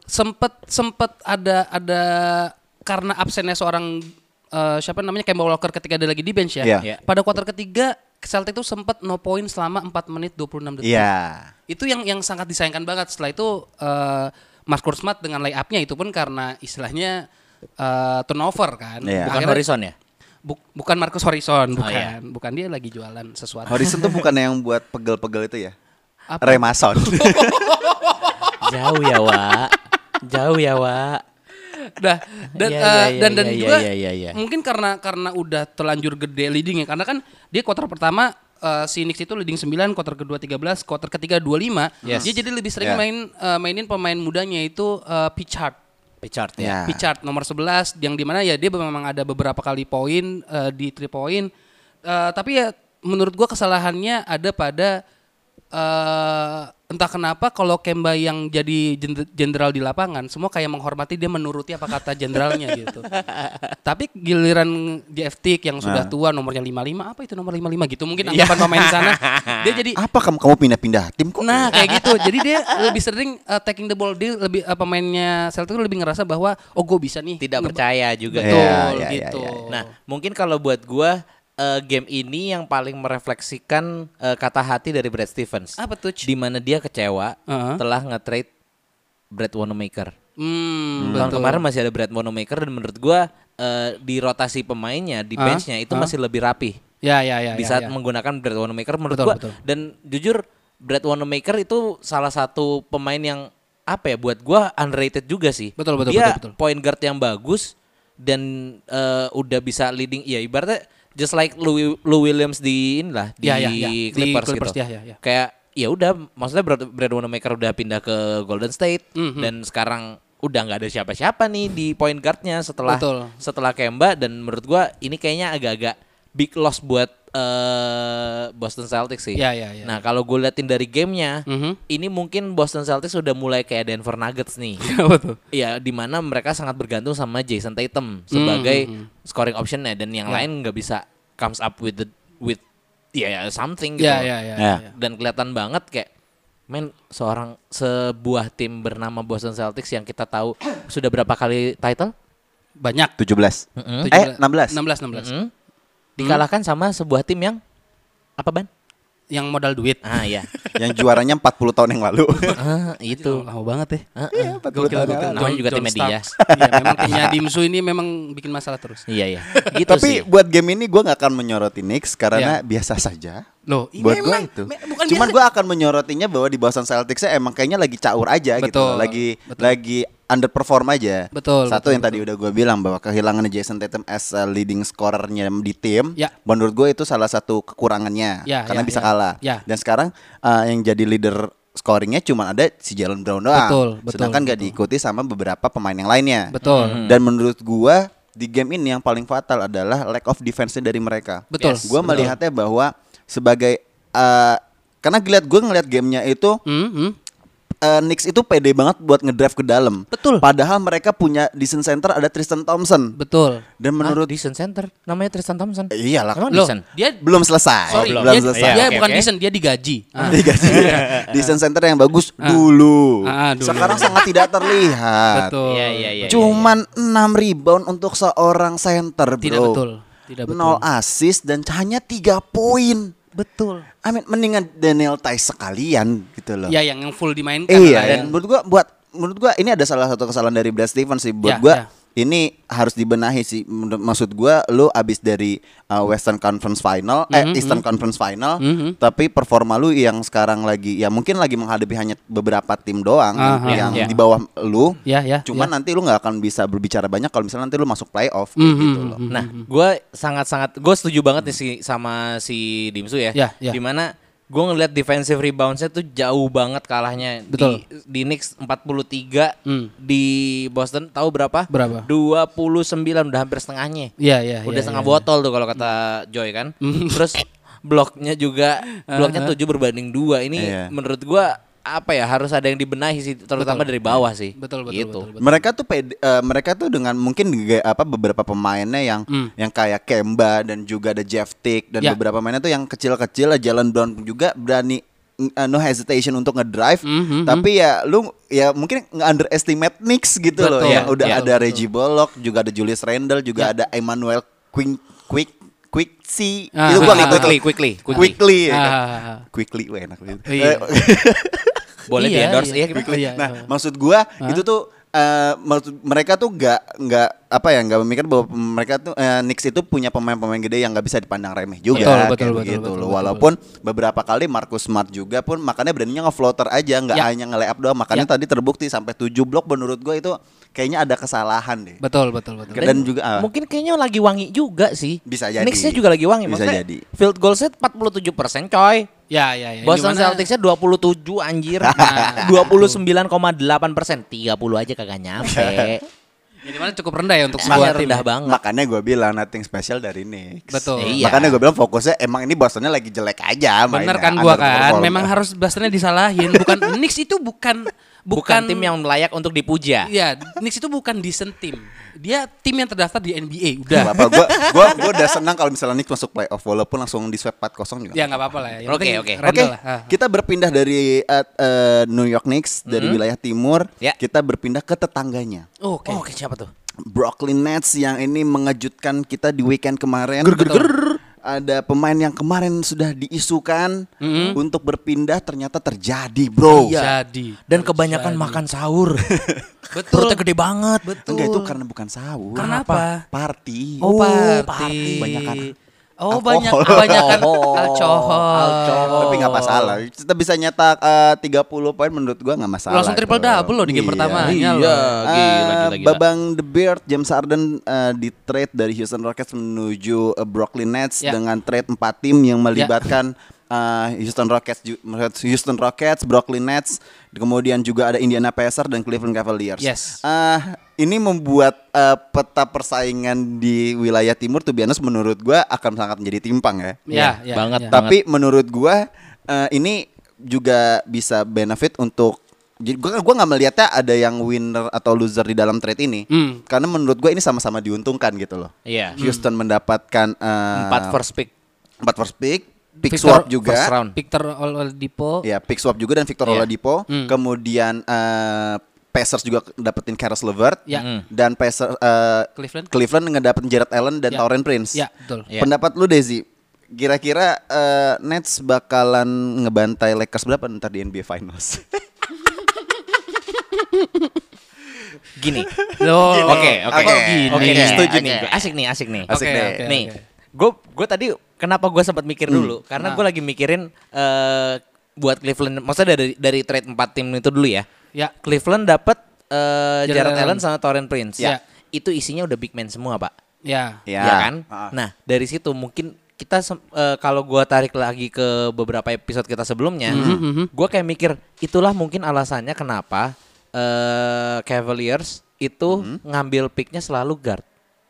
Speaker 3: sempet sempet ada ada karena absennya seorang eh, siapa namanya Kemba Walker ketika dia lagi di bench ya.
Speaker 2: Iya.
Speaker 1: Iya.
Speaker 3: Pada kuarter ketiga Celtic itu sempat no point selama 4 menit 26 detik.
Speaker 2: Iya.
Speaker 3: Itu yang yang sangat disayangkan banget. Setelah itu eh Marcus Smart dengan layup-nya itu pun karena istilahnya eh, turnover kan.
Speaker 2: Iya.
Speaker 1: Bukan
Speaker 3: Akhirnya-
Speaker 1: Horizon ya?
Speaker 3: bu- bukan Marcus Horizon, bukan.
Speaker 1: iya.
Speaker 3: Bukan dia lagi jualan sesuatu.
Speaker 2: Horizon tuh bukan yang buat pegel-pegel itu ya?
Speaker 3: Apa?
Speaker 2: Remason.
Speaker 1: Jauh ya, Wak. Jauh ya, Wak.
Speaker 3: Dah dan
Speaker 1: Iya,
Speaker 3: eh,
Speaker 1: iya, iya,
Speaker 3: dan dan
Speaker 1: iya,
Speaker 3: juga
Speaker 1: iya, iya, iya.
Speaker 3: mungkin karena karena udah telanjur gede leading ya karena kan dia kuarter pertama eh, si Knicks itu leading 9, kuarter kedua 13, kuarter ketiga 25.
Speaker 1: Yes.
Speaker 3: Dia jadi lebih sering
Speaker 2: Yeah.
Speaker 3: main eh, mainin pemain mudanya itu eh, Pritchard.
Speaker 1: Pichard ya.
Speaker 2: Ya. Ah.
Speaker 3: Pritchard nomor 11 yang dimana ya dia memang ada beberapa kali poin eh, di three point Eh, tapi ya menurut gua kesalahannya ada pada eh, entah kenapa kalau Kemba yang jadi jend- jenderal di lapangan semua kayak menghormati dia menuruti apa kata jenderalnya gitu. Tapi giliran JFT yang
Speaker 2: Nah.
Speaker 3: sudah tua nomornya 55 apa itu nomor 55 gitu mungkin anggapan pemain di sana dia jadi
Speaker 2: Iya. Apa kamu kamu pindah-pindah tim kok?
Speaker 3: Nah kayak gitu, jadi dia lebih sering uh, taking the ball dia lebih uh, pemainnya Celtic lebih ngerasa bahwa oh gue bisa nih.
Speaker 1: Tidak
Speaker 3: Nge-
Speaker 1: percaya juga.
Speaker 3: Betul
Speaker 2: Iya, iya, iya,
Speaker 3: gitu.
Speaker 2: iya,
Speaker 1: Nah, mungkin kalau buat gua eh, game ini yang paling merefleksikan eh, kata hati dari Brad Stevens.
Speaker 3: apa tuh? Ci?
Speaker 1: Di mana dia kecewa
Speaker 3: Uh-huh.
Speaker 1: telah nge-trade Brad Wanamaker.
Speaker 3: Hmm,
Speaker 1: Tahun
Speaker 3: betul.
Speaker 1: kemarin masih ada Brad Wanamaker dan menurut gua eh, di rotasi pemainnya, di
Speaker 3: Ah,
Speaker 1: benchnya itu
Speaker 3: ah.
Speaker 1: masih lebih rapi
Speaker 3: Ya ya ya.
Speaker 1: di
Speaker 3: ya,
Speaker 1: saat
Speaker 3: ya.
Speaker 1: menggunakan Brad Wanamaker menurut
Speaker 3: Betul,
Speaker 1: gua
Speaker 3: betul.
Speaker 1: dan jujur Brad Wanamaker itu salah satu pemain yang apa ya buat gua underrated juga sih.
Speaker 3: Betul, betul,
Speaker 1: Dia
Speaker 3: betul, betul.
Speaker 1: point guard yang bagus dan eh, udah bisa leading ya ibaratnya just like Lou, Lou Williams di inilah di,
Speaker 3: Ya, ya, ya. Di
Speaker 1: Clippers,
Speaker 3: Clippers,
Speaker 1: gitu.
Speaker 3: ya, ya, ya.
Speaker 1: Kayak ya udah maksudnya Brad, Brad Wanamaker udah pindah ke Golden State
Speaker 3: Mhm.
Speaker 1: dan sekarang udah nggak ada siapa-siapa nih di point guardnya setelah
Speaker 3: Betul.
Speaker 1: setelah Kemba dan menurut gua ini kayaknya agak-agak big loss buat eh, Boston Celtics sih.
Speaker 3: Ya, ya, ya.
Speaker 1: Nah kalau gue liatin dari gamenya,
Speaker 3: Mhm.
Speaker 1: ini mungkin Boston Celtics sudah mulai kayak Denver Nuggets nih.
Speaker 3: Apa tuh?
Speaker 1: Ya dimana mereka sangat bergantung sama Jason Tatum sebagai scoring optionnya dan yang lain nggak bisa comes up with the with ya ya, something gitu.
Speaker 3: Ya ya ya.
Speaker 2: Ya.
Speaker 3: ya.
Speaker 1: Dan kelihatan banget kayak men seorang sebuah tim bernama Boston Celtics yang kita tahu sudah berapa kali title?
Speaker 3: Banyak.
Speaker 2: 17.
Speaker 1: Mm-mm.
Speaker 2: Eh, 16.
Speaker 3: 16 16.
Speaker 1: Mm. Dikalahkan sama sebuah tim yang apa ban?
Speaker 3: Yang modal duit.
Speaker 1: Ah ya,
Speaker 2: Yang juaranya 40 tahun yang lalu.
Speaker 1: ah, itu.
Speaker 3: Lama banget ya.
Speaker 1: Ah, ah.
Speaker 2: Iya, 40 tahun yang lalu.
Speaker 1: Namanya juga
Speaker 3: John
Speaker 1: timnya
Speaker 3: Starks. Iya, memang timnya Dimsu ini memang bikin masalah terus.
Speaker 1: Iya ya, gitu
Speaker 2: Tapi
Speaker 1: sih.
Speaker 2: buat game ini gua nggak akan menyoroti Knicks
Speaker 3: Iya.
Speaker 2: karena biasa saja.
Speaker 3: Loh, iya
Speaker 2: buat gua
Speaker 3: memang.
Speaker 2: itu.
Speaker 3: Me- bukan
Speaker 2: Cuman
Speaker 3: biasa.
Speaker 2: gua akan menyorotinya bahwa di Boston Celtics emang kayaknya lagi caur aja gitu,
Speaker 3: Betul,
Speaker 2: loh. lagi
Speaker 3: betul.
Speaker 2: lagi underperform aja.
Speaker 3: Betul,
Speaker 2: Satu
Speaker 3: betul,
Speaker 2: yang tadi udah gua bilang bahwa kehilangan Jason Tatum as a leading scorernya di tim,
Speaker 3: Ya.
Speaker 2: menurut gua itu salah satu kekurangannya
Speaker 3: Ya,
Speaker 2: karena
Speaker 3: ya,
Speaker 2: bisa
Speaker 3: ya.
Speaker 2: kalah.
Speaker 3: Ya.
Speaker 2: Dan sekarang uh, yang jadi leader scoringnya cuma ada si Jalen Brown doang.
Speaker 3: Betul, betul,
Speaker 2: Sedangkan nggak
Speaker 3: betul.
Speaker 2: diikuti sama beberapa pemain yang lainnya.
Speaker 3: Betul.
Speaker 1: Mhm.
Speaker 2: Dan menurut gua di game ini yang paling fatal adalah lack of defense-nya dari mereka.
Speaker 3: Betul.
Speaker 2: Gue
Speaker 3: Betul.
Speaker 2: melihatnya bahwa sebagai eh, karena ngeliat gue ngeliat gamenya itu
Speaker 3: Hmm, hmm.
Speaker 2: eh, Knicks itu pede banget buat ngedrive ke dalam.
Speaker 3: Betul.
Speaker 2: Padahal mereka punya decent center ada Tristan Thompson.
Speaker 3: Betul.
Speaker 2: Dan
Speaker 1: Menurut
Speaker 2: menurut
Speaker 1: Dixon Ah, Center, namanya Tristan Thompson.
Speaker 2: Eh, iyalah.
Speaker 1: Emang
Speaker 3: Loh,
Speaker 1: Dixon?
Speaker 3: dia
Speaker 2: belum selesai.
Speaker 3: sorry,
Speaker 2: belum
Speaker 3: dia,
Speaker 2: selesai.
Speaker 3: dia
Speaker 1: Iya, oke,
Speaker 3: bukan
Speaker 1: oke.
Speaker 3: desain, dia digaji. Ah.
Speaker 2: Digaji. decent center yang bagus dulu.
Speaker 3: Ah, dulu.
Speaker 2: Sekarang sangat tidak terlihat.
Speaker 3: Betul.
Speaker 1: Iya iya iya.
Speaker 2: Cuman 6 rebound untuk seorang center, bro.
Speaker 3: Tidak betul. Tidak betul.
Speaker 2: 0 assist dan hanya 3 poin.
Speaker 3: Betul.
Speaker 2: I mean, mendingan Daniel Tice sekalian gitu loh.
Speaker 3: Ya yang yang full dimainkan.
Speaker 2: Iya,
Speaker 3: lah,
Speaker 2: dan
Speaker 3: yang-
Speaker 2: menurut gua buat menurut gua ini ada salah satu kesalahan dari Brad Stevens sih buat
Speaker 3: Ya,
Speaker 2: gua.
Speaker 3: ya.
Speaker 2: Ini harus dibenahi sih. Menurut- Maksud gua lu abis dari uh, Western Conference Final,
Speaker 3: Mm-hmm,
Speaker 2: eh Eastern Conference Final, tapi performa lu yang sekarang lagi ya mungkin lagi menghadapi hanya beberapa tim doang
Speaker 3: Aha.
Speaker 2: yang
Speaker 1: Ya, ya.
Speaker 2: di bawah lu.
Speaker 3: Ya, ya,
Speaker 2: Cuman
Speaker 3: ya.
Speaker 2: nanti lu nggak akan bisa berbicara banyak kalau misalnya nanti lu masuk playoff kayak
Speaker 3: Mhm.
Speaker 2: gitu loh.
Speaker 1: Nah, gue sangat-sangat gue setuju banget nih si sama si Dimsu ya.
Speaker 3: Ya, ya.
Speaker 1: Dimana gue ngeliat defensive reboundsnya tuh jauh banget kalahnya
Speaker 3: Betul.
Speaker 1: di di Knicks 43
Speaker 3: Hmm.
Speaker 1: di Boston tahu berapa?
Speaker 3: Iya. Berapa?
Speaker 1: 29 udah hampir setengahnya.
Speaker 3: Iya, iya,
Speaker 1: Udah
Speaker 3: iya,
Speaker 1: setengah
Speaker 3: iya.
Speaker 1: botol tuh kalau kata Joy kan. Terus bloknya juga bloknya 7 berbanding dua. Ini
Speaker 2: Iya.
Speaker 1: menurut gua apa ya harus ada yang dibenahi sih terutama dari bawah sih.
Speaker 3: Betul, betul,
Speaker 1: Gitu.
Speaker 3: betul, betul.
Speaker 2: mereka tuh pede- eh, mereka tuh dengan mungkin juga apa beberapa pemainnya yang yang kayak Kemba dan juga ada Jeff Tick dan
Speaker 3: Hmm. Ya.
Speaker 2: beberapa pemainnya tuh yang kecil-kecil Jalan Brown juga berani mm, eh, no hesitation untuk ngedrive
Speaker 3: Mhm,
Speaker 2: tapi ya lu ya mungkin nge underestimate Knicks gitu loh
Speaker 3: Betul, Ya.
Speaker 2: yang udah
Speaker 1: ya,
Speaker 2: ada Reggie Bullock juga ada Julius Randle juga ada Emmanuel Quin Quick Quick C
Speaker 3: Ah,
Speaker 2: itu gua nggak tahu
Speaker 1: quickly,
Speaker 2: tuh.
Speaker 1: quickly, quickly.
Speaker 2: quickly ya kan?
Speaker 3: Ah.
Speaker 2: quickly wah, enak banget.
Speaker 3: Iya.
Speaker 2: Eh,
Speaker 1: Boleh
Speaker 3: Iya,
Speaker 1: di endorse
Speaker 3: iya.
Speaker 1: ya kita.
Speaker 3: Iya,
Speaker 2: Nah,
Speaker 3: iya.
Speaker 2: maksud gua itu tuh eh, maksud mereka tuh nggak nggak apa ya nggak memikir bahwa mereka tuh eh, Knicks itu punya pemain-pemain gede yang nggak bisa dipandang remeh juga
Speaker 3: Betul,
Speaker 2: kayak
Speaker 3: betul, betul,
Speaker 2: begitu
Speaker 3: betul,
Speaker 2: loh.
Speaker 3: betul.
Speaker 2: Walaupun beberapa kali Marcus Smart juga pun makanya beraninya nge-floater aja nggak
Speaker 3: Ya.
Speaker 2: hanya nge-layup doang. Makanya tadi terbukti sampai 7 blok menurut gua itu kayaknya ada kesalahan deh.
Speaker 3: Betul, betul, betul.
Speaker 2: Dan juga ah,
Speaker 1: Mungkin kayaknya lagi wangi juga sih.
Speaker 2: Bisa jadi.
Speaker 1: Knicksnya juga lagi wangi.
Speaker 2: Bisa
Speaker 1: Maksudnya
Speaker 2: jadi.
Speaker 1: Field goal set 47% coy.
Speaker 3: Ya, ya, ya.
Speaker 1: Boston
Speaker 3: Dimana-
Speaker 1: Celticsnya 27 Nah, anjir. 29,8 persen. 30 aja kagak nyampe.
Speaker 3: Minimalnya cukup rendah ya untuk
Speaker 1: Makanya
Speaker 3: sebuah tim.
Speaker 1: rendah banget.
Speaker 2: Makanya gue bilang nothing special dari Knicks.
Speaker 3: Betul.
Speaker 1: Iya.
Speaker 2: Makanya gue bilang fokusnya emang ini Bostonnya lagi jelek aja
Speaker 3: Bener
Speaker 2: mainnya,
Speaker 3: kan gua kan,
Speaker 2: underperform.
Speaker 3: memang harus Bostonnya disalahin. Bukan Knicks itu bukan
Speaker 1: Bukan, tim yang layak untuk dipuja.
Speaker 3: Iya, Knicks itu bukan decent tim. Dia tim yang terdaftar di
Speaker 2: Gak
Speaker 3: NBA. Udah.
Speaker 2: apa-apa gue gua, gua udah senang kalau misalnya Knicks masuk playoff walaupun langsung di sweep 4-0 juga.
Speaker 3: Ya nggak apa-apa lah. ya.
Speaker 1: Oke,
Speaker 3: Yang penting
Speaker 1: oke.
Speaker 3: Randall
Speaker 2: Oke,
Speaker 3: lah. Ah.
Speaker 2: kita berpindah dari eh, eh, New York Knicks dari
Speaker 3: Mm-hmm.
Speaker 2: wilayah timur,
Speaker 1: Ya.
Speaker 2: kita berpindah ke tetangganya.
Speaker 3: Oke.
Speaker 1: Oh, Oke, siapa tuh?
Speaker 2: Brooklyn Nets yang ini mengejutkan kita di weekend kemarin. Ada pemain yang kemarin sudah diisukan
Speaker 3: Mm-hmm.
Speaker 2: untuk berpindah ternyata terjadi, Bro.
Speaker 3: Jadi.
Speaker 1: Dan kebanyakan makan sahur.
Speaker 3: Betul.
Speaker 1: Perutnya gede banget.
Speaker 3: Betul.
Speaker 2: Enggak itu karena bukan sahur.
Speaker 3: Karena apa?
Speaker 2: Party.
Speaker 3: Oh,
Speaker 1: Oh,
Speaker 3: party.
Speaker 1: party.
Speaker 2: Kebanyakan
Speaker 3: Oh,
Speaker 2: alkohol.
Speaker 3: banyak kebanyakan
Speaker 1: Alkohol.
Speaker 3: alcohol.
Speaker 1: Alcohol.
Speaker 2: Tapi nggak masalah. Kita bisa nyetak eh, 30 poin menurut gua nggak masalah.
Speaker 3: Langsung triple
Speaker 2: bro.
Speaker 3: double loh di game
Speaker 2: Iya.
Speaker 3: pertama. Iya,
Speaker 2: Eh, Babang The Beard James Harden eh, di trade dari Houston Rockets menuju eh, Brooklyn Nets
Speaker 3: Ya.
Speaker 2: dengan trade empat tim yang melibatkan eh, Houston Rockets, ju- Houston Rockets, Brooklyn Nets, kemudian juga ada Indiana Pacers dan Cleveland Cavaliers.
Speaker 3: Yes.
Speaker 2: Eh, ini membuat eh, peta persaingan di wilayah timur tuh Bianos menurut gua akan sangat menjadi timpang ya.
Speaker 3: Ya, ya,
Speaker 1: banget.
Speaker 3: ya.
Speaker 2: Tapi menurut gua eh, ini juga bisa benefit untuk jadi gua gua nggak melihatnya ada yang winner atau loser di dalam trade ini.
Speaker 3: Hmm.
Speaker 2: Karena menurut gua ini sama-sama diuntungkan gitu loh.
Speaker 1: Iya.
Speaker 2: Houston mendapatkan eh,
Speaker 1: Empat first pick.
Speaker 2: empat first pick, pick
Speaker 3: Victor-
Speaker 2: swap juga.
Speaker 1: first round.
Speaker 3: Victor Oladipo.
Speaker 2: Ya, pick swap juga dan Victor
Speaker 1: Iya.
Speaker 2: Oladipo.
Speaker 3: Hmm.
Speaker 2: Kemudian eh, Pacers juga dapetin Karis LeVert
Speaker 3: Ya.
Speaker 1: Mm.
Speaker 2: dan Pacers eh,
Speaker 3: Cleveland.
Speaker 2: Cleveland ngedapetin Jared Allen dan
Speaker 3: Ya.
Speaker 2: Taurean Prince.
Speaker 3: Ya, betul.
Speaker 1: Ya.
Speaker 2: Pendapat lu Desi, kira-kira eh, Nets bakalan ngebantai Lakers berapa ntar di NBA Finals?
Speaker 3: Hmm.
Speaker 1: Gini.
Speaker 3: Loh.
Speaker 1: Oke, oke.
Speaker 2: Oke,
Speaker 1: Oke,
Speaker 2: oke,
Speaker 1: nih, setuju
Speaker 2: oke.
Speaker 1: nih. Asik nih, asik nih.
Speaker 2: Asik
Speaker 3: Oke,
Speaker 2: deh.
Speaker 3: oke,
Speaker 1: nih,
Speaker 3: oke.
Speaker 1: gue gue tadi kenapa gue sempat mikir dulu? Karena gue lagi mikirin eh buat Cleveland, maksudnya dari dari trade empat tim itu dulu ya.
Speaker 3: Ya.
Speaker 1: Cleveland dapat eh
Speaker 3: Jared
Speaker 1: Jared Allen
Speaker 3: Allen.
Speaker 1: sama Torren Prince.
Speaker 3: Ya.
Speaker 1: Itu isinya udah big man semua, Pak.
Speaker 3: Ya.
Speaker 2: Ya.
Speaker 1: Iya kan?
Speaker 2: Ah.
Speaker 1: Nah, dari situ mungkin kita sem- eh, kalau gua tarik lagi ke beberapa episode kita sebelumnya,
Speaker 3: Mhm,
Speaker 1: gua kayak mikir itulah mungkin alasannya kenapa eh Cavaliers itu ngambil picknya selalu guard.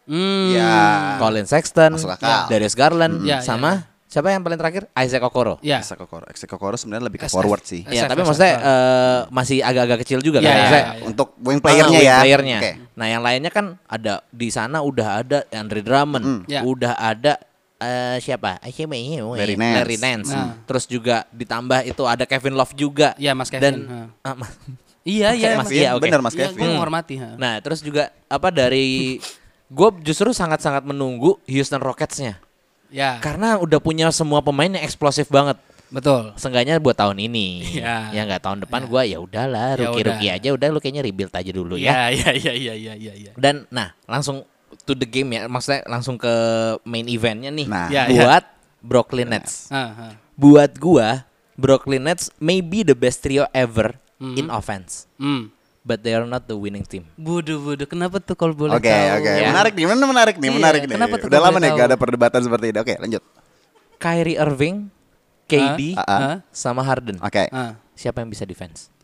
Speaker 3: Hmm.
Speaker 1: Iya.
Speaker 2: Ya.
Speaker 1: Colin Sexton,
Speaker 2: Masuk akal.
Speaker 1: Darius Garland,
Speaker 3: Ya,
Speaker 1: sama siapa yang paling terakhir? Isaac Okoro.
Speaker 3: Ya.
Speaker 2: Isaac Okoro, Isaac Okoro sebenarnya lebih ke
Speaker 3: SF.
Speaker 2: forward sih.
Speaker 1: Ya,
Speaker 3: SF,
Speaker 1: tapi maksudnya
Speaker 3: SF.
Speaker 1: eh, masih agak-agak kecil juga
Speaker 3: Ya,
Speaker 1: kan.
Speaker 3: ya,
Speaker 1: Maksudnya,
Speaker 3: ya.
Speaker 2: Untuk wing playernya
Speaker 1: Ah, wing
Speaker 2: ya.
Speaker 1: playernya.
Speaker 2: Oke.
Speaker 1: Nah, yang lainnya kan ada di sana udah ada Andre Drummond,
Speaker 2: Hmm.
Speaker 3: Ya.
Speaker 1: udah ada eh, siapa? I can't remember.
Speaker 2: Larry Nance.
Speaker 1: Nance.
Speaker 3: Nah.
Speaker 1: Terus juga ditambah itu ada Kevin Love juga.
Speaker 3: Ya, Mas Kevin,
Speaker 1: Dan
Speaker 3: ha.
Speaker 1: ah, Mas-
Speaker 3: Iya, iya.
Speaker 1: Mas-
Speaker 2: Mas
Speaker 1: iya,
Speaker 2: Kevin,
Speaker 1: oke.
Speaker 2: bener Mas
Speaker 3: Iya,
Speaker 2: Kevin.
Speaker 3: gua menghormati. ha.
Speaker 1: nah, terus juga apa dari gue justru sangat-sangat menunggu Houston Rockets-nya.
Speaker 3: Ya.
Speaker 1: Karena udah punya semua pemain yang eksplosif banget.
Speaker 3: Betul.
Speaker 1: Seenggaknya buat tahun ini.
Speaker 3: Iya.
Speaker 1: Ya nggak tahun depan gua ya udahlah,
Speaker 3: Ya
Speaker 1: ruki-ruki
Speaker 3: udah.
Speaker 1: aja udah lu kayaknya rebuild aja dulu ya.
Speaker 3: Ya, ya, ya, ya, ya, ya, ya.
Speaker 1: Dan nah langsung to the game ya, maksudnya langsung ke main eventnya nih.
Speaker 2: Nah.
Speaker 3: Ya, ya.
Speaker 1: buat Brooklyn Nets.
Speaker 3: Ah, ah.
Speaker 1: Buat gua Brooklyn Nets maybe the best trio ever
Speaker 3: Mhm.
Speaker 1: in offense,
Speaker 3: Hmm.
Speaker 1: but they are not the winning team.
Speaker 3: Budu, budu. Kenapa tuh kalau boleh
Speaker 2: Oke,
Speaker 3: tahu?
Speaker 2: oke.
Speaker 1: Ya.
Speaker 2: Menarik nih, mana menarik nih,
Speaker 3: Iya,
Speaker 2: menarik nih.
Speaker 3: kenapa tuh
Speaker 2: Udah
Speaker 3: gak
Speaker 2: lama
Speaker 3: boleh
Speaker 2: nih gak
Speaker 3: tahu?
Speaker 2: ada perdebatan seperti ini. Oke, lanjut.
Speaker 1: Kyrie Irving, KD,
Speaker 2: Ah, ah,
Speaker 3: ah.
Speaker 1: sama Harden.
Speaker 2: Oke.
Speaker 3: Ah,
Speaker 1: Siapa yang bisa defense?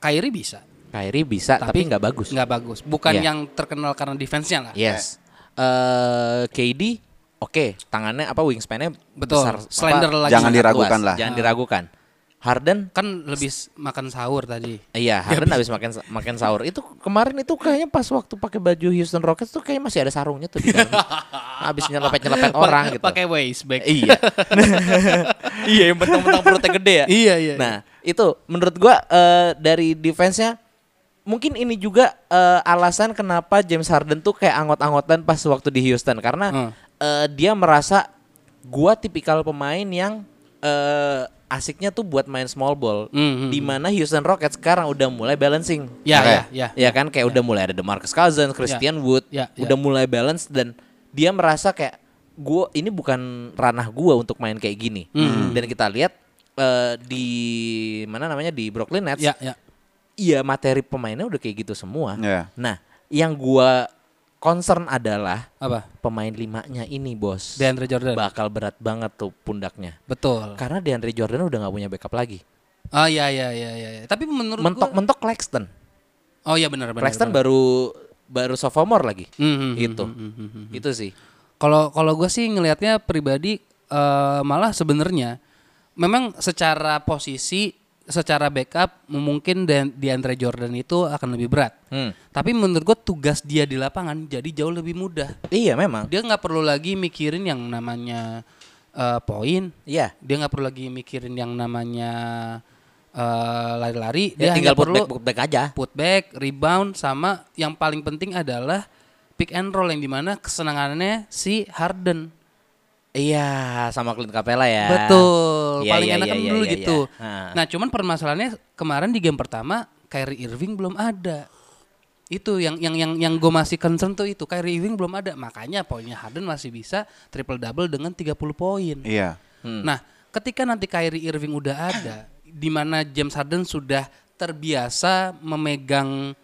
Speaker 3: Kyrie bisa,
Speaker 1: Kyrie bisa tapi nggak bagus.
Speaker 3: Nggak bagus. Bukan
Speaker 1: Iya.
Speaker 3: yang terkenal karena defense-nya lah.
Speaker 1: Yes. Eh KD oke, tangannya apa wingspan-nya
Speaker 3: Betul.
Speaker 1: besar. apa,
Speaker 3: Slender lagi.
Speaker 2: Jangan
Speaker 1: sangat
Speaker 2: diragukan
Speaker 1: luas.
Speaker 2: lah.
Speaker 1: Jangan diragukan. Harden
Speaker 3: Kan lebih s- makan sahur tadi.
Speaker 1: Iya, Harden habis makan makan sahur. Itu kemarin itu kayaknya pas waktu pakai baju Houston Rockets tuh kayaknya masih ada sarungnya tuh di dalam. Habis nyelepet-nyelepet orang gitu.
Speaker 3: Pakai waist bag.
Speaker 1: Iya. iya, yang bentang-bentang perutnya gede ya.
Speaker 3: Iya, iya.
Speaker 1: Nah, itu menurut gua eh, dari defense-nya mungkin ini juga eh, alasan kenapa James Harden tuh kayak anggot-anggotan pas waktu di Houston karena
Speaker 3: Hmm.
Speaker 1: eh, dia merasa gua tipikal pemain yang eh, asiknya tuh buat main small ball.
Speaker 3: Hmm, hmm,
Speaker 1: di mana Houston Rockets sekarang udah mulai balancing.
Speaker 3: Ya,
Speaker 2: Oke.
Speaker 3: ya, ya.
Speaker 1: Ya kan kayak udah mulai ada DeMarcus Cousins, Christian Wood,
Speaker 3: Ya, ya.
Speaker 1: udah mulai balance dan dia merasa kayak gua ini bukan ranah gua untuk main kayak gini.
Speaker 3: Hmm.
Speaker 1: Dan kita lihat eh, di mana namanya di Brooklyn Nets,
Speaker 3: Ya, ya.
Speaker 1: iya materi pemainnya udah kayak gitu semua.
Speaker 2: Ya.
Speaker 1: Nah, yang gua concern adalah
Speaker 3: Apa?
Speaker 1: pemain limanya ini, Bos.
Speaker 3: DeAndre Jordan. Oh.
Speaker 1: bakal berat banget tuh pundaknya.
Speaker 3: Betul.
Speaker 1: Karena DeAndre Jordan udah nggak punya backup lagi.
Speaker 3: Oh, ya, ya, ya, ya. Tapi menurut gua-
Speaker 1: Mentok-mentok Claxton.
Speaker 3: Oh, ya benar, benar.
Speaker 1: Claxton
Speaker 3: benar.
Speaker 1: baru baru sophomore lagi.
Speaker 3: Mhm,
Speaker 1: itu.
Speaker 3: mhm, mhm, mhm.
Speaker 1: Itu sih.
Speaker 3: Kalau kalau gue sih ngelihatnya pribadi eh, malah sebenarnya memang secara posisi, secara backup mungkin dan di Andre Jordan itu akan lebih berat.
Speaker 1: Hmm.
Speaker 3: Tapi menurut gue tugas dia di lapangan jadi jauh lebih mudah.
Speaker 1: Iya memang.
Speaker 3: Dia nggak perlu lagi mikirin yang namanya eh, poin.
Speaker 1: Iya.
Speaker 3: Dia nggak perlu lagi mikirin yang namanya eh, lari-lari.
Speaker 1: Dia, Ya, tinggal put
Speaker 3: hanya perlu
Speaker 1: back, put back aja.
Speaker 3: putback, rebound, sama yang paling penting adalah pick and roll yang dimana kesenangannya si Harden.
Speaker 1: Iya, sama Clint Capella ya.
Speaker 3: Betul,
Speaker 1: Iya,
Speaker 3: paling
Speaker 1: iya,
Speaker 3: enak
Speaker 1: iya,
Speaker 3: kan
Speaker 1: iya,
Speaker 3: dulu
Speaker 1: iya,
Speaker 3: gitu.
Speaker 1: iya. Ah.
Speaker 3: Nah cuman permasalahannya kemarin di game pertama Kyrie Irving belum ada. Itu yang yang yang yang gue masih concern tuh itu Kyrie Irving belum ada. Makanya poinnya Harden masih bisa triple double dengan 30 poin.
Speaker 2: Iya.
Speaker 3: Nah, ketika nanti Kyrie Irving udah ada, di mana James Harden sudah terbiasa memegang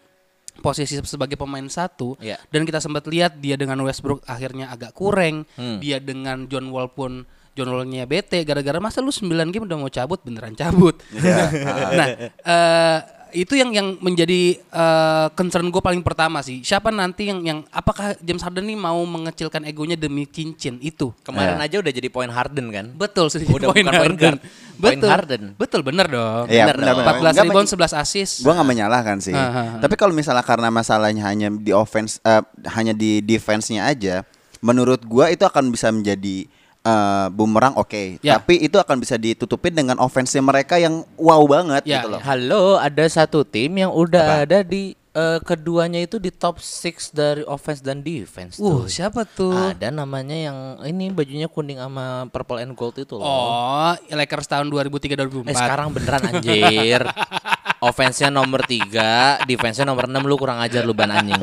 Speaker 3: posisi sebagai pemain satu,
Speaker 1: Iya.
Speaker 3: dan kita sempat lihat dia dengan Westbrook akhirnya agak kurang, dia dengan John Wall pun John Wallnya bete, gara-gara masa lu 9 game udah mau cabut beneran cabut. nah, eh, itu yang yang menjadi eh, concern gue paling pertama sih. Siapa nanti yang yang apakah James Harden nih mau mengecilkan egonya demi cincin itu?
Speaker 1: Kemarin aja udah jadi poin Harden kan?
Speaker 3: Betul sih.
Speaker 1: Udah bukan point guard, point
Speaker 3: Betul.
Speaker 1: Harden.
Speaker 3: Betul bener dong.
Speaker 2: Iya,
Speaker 1: Bener dong.
Speaker 2: benar benar.
Speaker 3: 14
Speaker 2: Enggak,
Speaker 3: rebound 11 assist.
Speaker 2: Gua nggak menyalahkan sih.
Speaker 3: Aha.
Speaker 2: Tapi kalau misalnya karena masalahnya hanya di offense eh, hanya di defense-nya aja, menurut gua itu akan bisa menjadi eh, bumerang oke,
Speaker 3: Ya.
Speaker 2: tapi itu akan bisa ditutupin dengan offense mereka yang wow banget
Speaker 3: Ya,
Speaker 2: gitu loh.
Speaker 1: Halo, ada satu tim yang udah ada di eh, keduanya itu di top 6 dari offense dan defense.
Speaker 3: Uh,
Speaker 1: tuh.
Speaker 3: siapa tuh?
Speaker 1: Ada namanya yang ini bajunya kuning sama purple and gold itu loh.
Speaker 3: Oh, Lakers tahun
Speaker 1: Eh
Speaker 3: 2003 2004.
Speaker 1: sekarang beneran anjir. Offense-nya nomor 3, defense-nya nomor 6 lu kurang ajar lu ban anjing.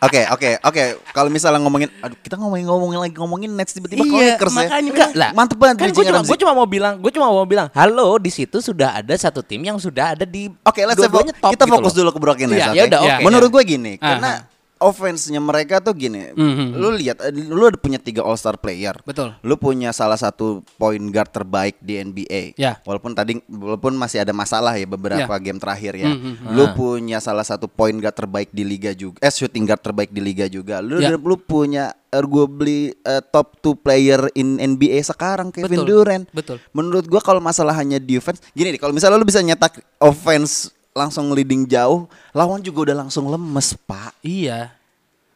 Speaker 2: Oke, oke, oke. Kalau misalnya ngomongin aduh kita ngomongin ngomongin lagi ngomongin Nets tiba-tiba ke
Speaker 3: Iya,
Speaker 2: Lakers ya.
Speaker 3: makanya.
Speaker 1: Enggak lah.
Speaker 2: Mantep banget
Speaker 1: Kan gue
Speaker 2: bridging
Speaker 1: cuma
Speaker 2: Ramzi.
Speaker 1: gua cuma mau bilang, gue cuma mau bilang, halo di situ sudah ada satu tim yang sudah ada di
Speaker 2: Oke, let's have-
Speaker 1: dua-duanya top
Speaker 2: kita
Speaker 1: gitu
Speaker 2: fokus
Speaker 1: loh.
Speaker 2: dulu ke Brooklyn Nets.
Speaker 1: Iya,
Speaker 2: oke?
Speaker 1: ya udah, oke.
Speaker 2: Menurut gue gini,
Speaker 3: Aha. Mhm.
Speaker 2: karena offense-nya mereka tuh gini. Lu lihat, eh, lu ada punya tiga All Star player.
Speaker 3: Betul.
Speaker 2: Lu punya salah satu point guard terbaik di NBA.
Speaker 3: Ya.
Speaker 2: Walaupun tadi, walaupun masih ada masalah ya beberapa
Speaker 3: Ya.
Speaker 2: game terakhir ya. Lu punya salah satu point guard terbaik di liga juga. Eh, shooting guard terbaik di liga juga. Lu
Speaker 3: Ya.
Speaker 2: lu punya gue beli eh, top two player in NBA sekarang Kevin
Speaker 3: Betul.
Speaker 2: Durant.
Speaker 3: Betul.
Speaker 2: Menurut gua kalau masalah hanya defense, gini deh kalau misalnya lu bisa nyetak offense langsung leading jauh, lawan juga udah langsung lemes, Pak.
Speaker 3: Iya.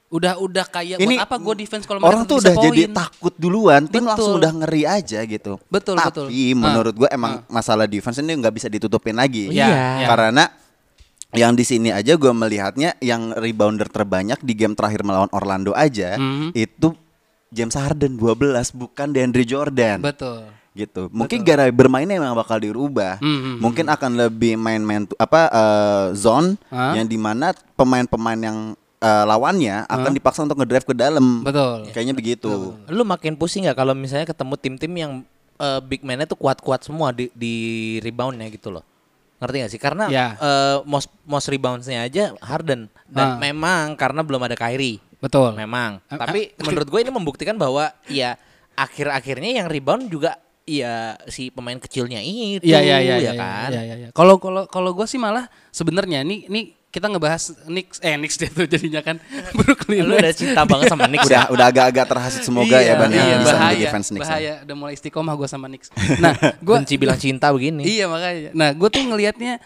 Speaker 3: Udah udah kayak Ya, buat apa gue defense kalau mereka
Speaker 2: orang tuh
Speaker 3: bisa
Speaker 2: udah jadi
Speaker 3: poin?
Speaker 2: takut duluan, tim
Speaker 3: Betul.
Speaker 2: langsung udah ngeri aja gitu.
Speaker 3: Betul, Ah.
Speaker 2: Tapi
Speaker 3: betul.
Speaker 2: menurut gua emang masalah defense ini nggak bisa ditutupin lagi.
Speaker 1: Iya. Iya.
Speaker 2: Karena yang di sini aja gua melihatnya yang rebounder terbanyak di game terakhir melawan Orlando aja
Speaker 3: Hmm.
Speaker 2: itu James Harden 12 bukan DeAndre Jordan.
Speaker 3: Betul. Hmm,
Speaker 2: gitu. Mungkin gara bermainnya emang bakal dirubah. Mungkin akan lebih main-main tu- apa eh, zone
Speaker 3: Hah?
Speaker 2: yang dimana pemain-pemain yang eh, lawannya akan dipaksa untuk ngedrive ke dalam.
Speaker 3: Betul.
Speaker 2: Kayaknya begitu.
Speaker 1: Lu makin pusing nggak kalau misalnya ketemu tim-tim yang eh, big man-nya tuh kuat-kuat semua di di rebound-nya gitu loh. Ngerti gak sih? Karena
Speaker 3: Ya.
Speaker 1: eh, most most rebounds-nya aja Harden dan
Speaker 3: Ah.
Speaker 1: memang karena belum ada Kyrie.
Speaker 3: Betul.
Speaker 1: Memang.
Speaker 3: Eh,
Speaker 1: Tapi
Speaker 3: eh,
Speaker 1: menurut gue ini membuktikan bahwa ya akhir-akhirnya yang rebound juga ya si pemain kecilnya itu
Speaker 3: Iya iya iya iya,
Speaker 1: kan.
Speaker 3: Iya iya iya. Kalau kalau kalau gue sih malah sebenarnya nih nih kita ngebahas Knicks eh Knicks deh tuh jadinya kan Brooklyn.
Speaker 1: Lu udah
Speaker 3: Nets.
Speaker 1: cinta banget sama Knicks
Speaker 2: Iya. Udah
Speaker 1: ya?
Speaker 2: udah agak-agak terhasut semoga ya
Speaker 3: Iya,
Speaker 2: Ban ya,
Speaker 3: iya,
Speaker 2: bisa
Speaker 3: bahaya,
Speaker 2: menjadi fans Knicks.
Speaker 3: Bahaya, udah mulai istiqomah gue sama Knicks. Nah, gue
Speaker 1: benci bilang cinta begini.
Speaker 3: Iya makanya. Nah, gue tuh ngelihatnya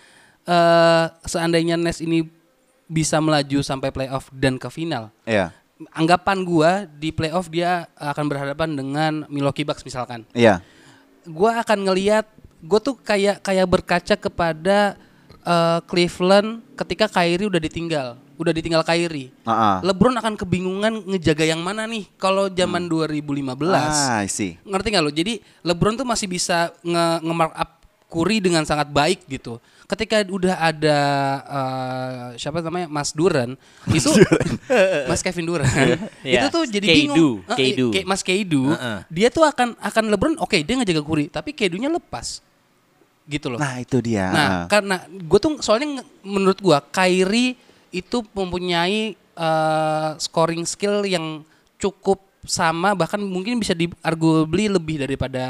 Speaker 3: eh seandainya Nets ini bisa melaju sampai playoff dan ke final.
Speaker 2: Iya.
Speaker 3: Anggapan gue di playoff dia akan berhadapan dengan Milwaukee Bucks misalkan.
Speaker 2: Iya.
Speaker 3: Gue akan ngelihat gue tuh kayak kayak berkaca kepada eh, Cleveland ketika Kyrie udah ditinggal, udah ditinggal Kyrie.
Speaker 2: Ah, ah.
Speaker 3: LeBron akan kebingungan ngejaga yang mana nih kalau zaman 2015
Speaker 2: Ah, I see.
Speaker 3: ngerti nggak lo? Jadi LeBron tuh masih bisa nge, nge up Curry dengan sangat baik gitu. Ketika udah ada eh, siapa namanya Mas Duran itu Mas Kevin Duran itu
Speaker 1: Iya.
Speaker 3: tuh jadi
Speaker 1: Keidu,
Speaker 3: bingung. Eh, eh,
Speaker 1: Keidu.
Speaker 3: Ke- Mas Keidu
Speaker 1: Heeh.
Speaker 3: dia tuh akan akan LeBron oke dia ngejaga Curry tapi Keidunya lepas gitu loh.
Speaker 2: Nah, itu dia.
Speaker 3: Nah,
Speaker 2: Ah.
Speaker 3: karena gue tuh soalnya nge- menurut gue Kyrie itu mempunyai eh, scoring skill yang cukup sama bahkan mungkin bisa di arguably lebih daripada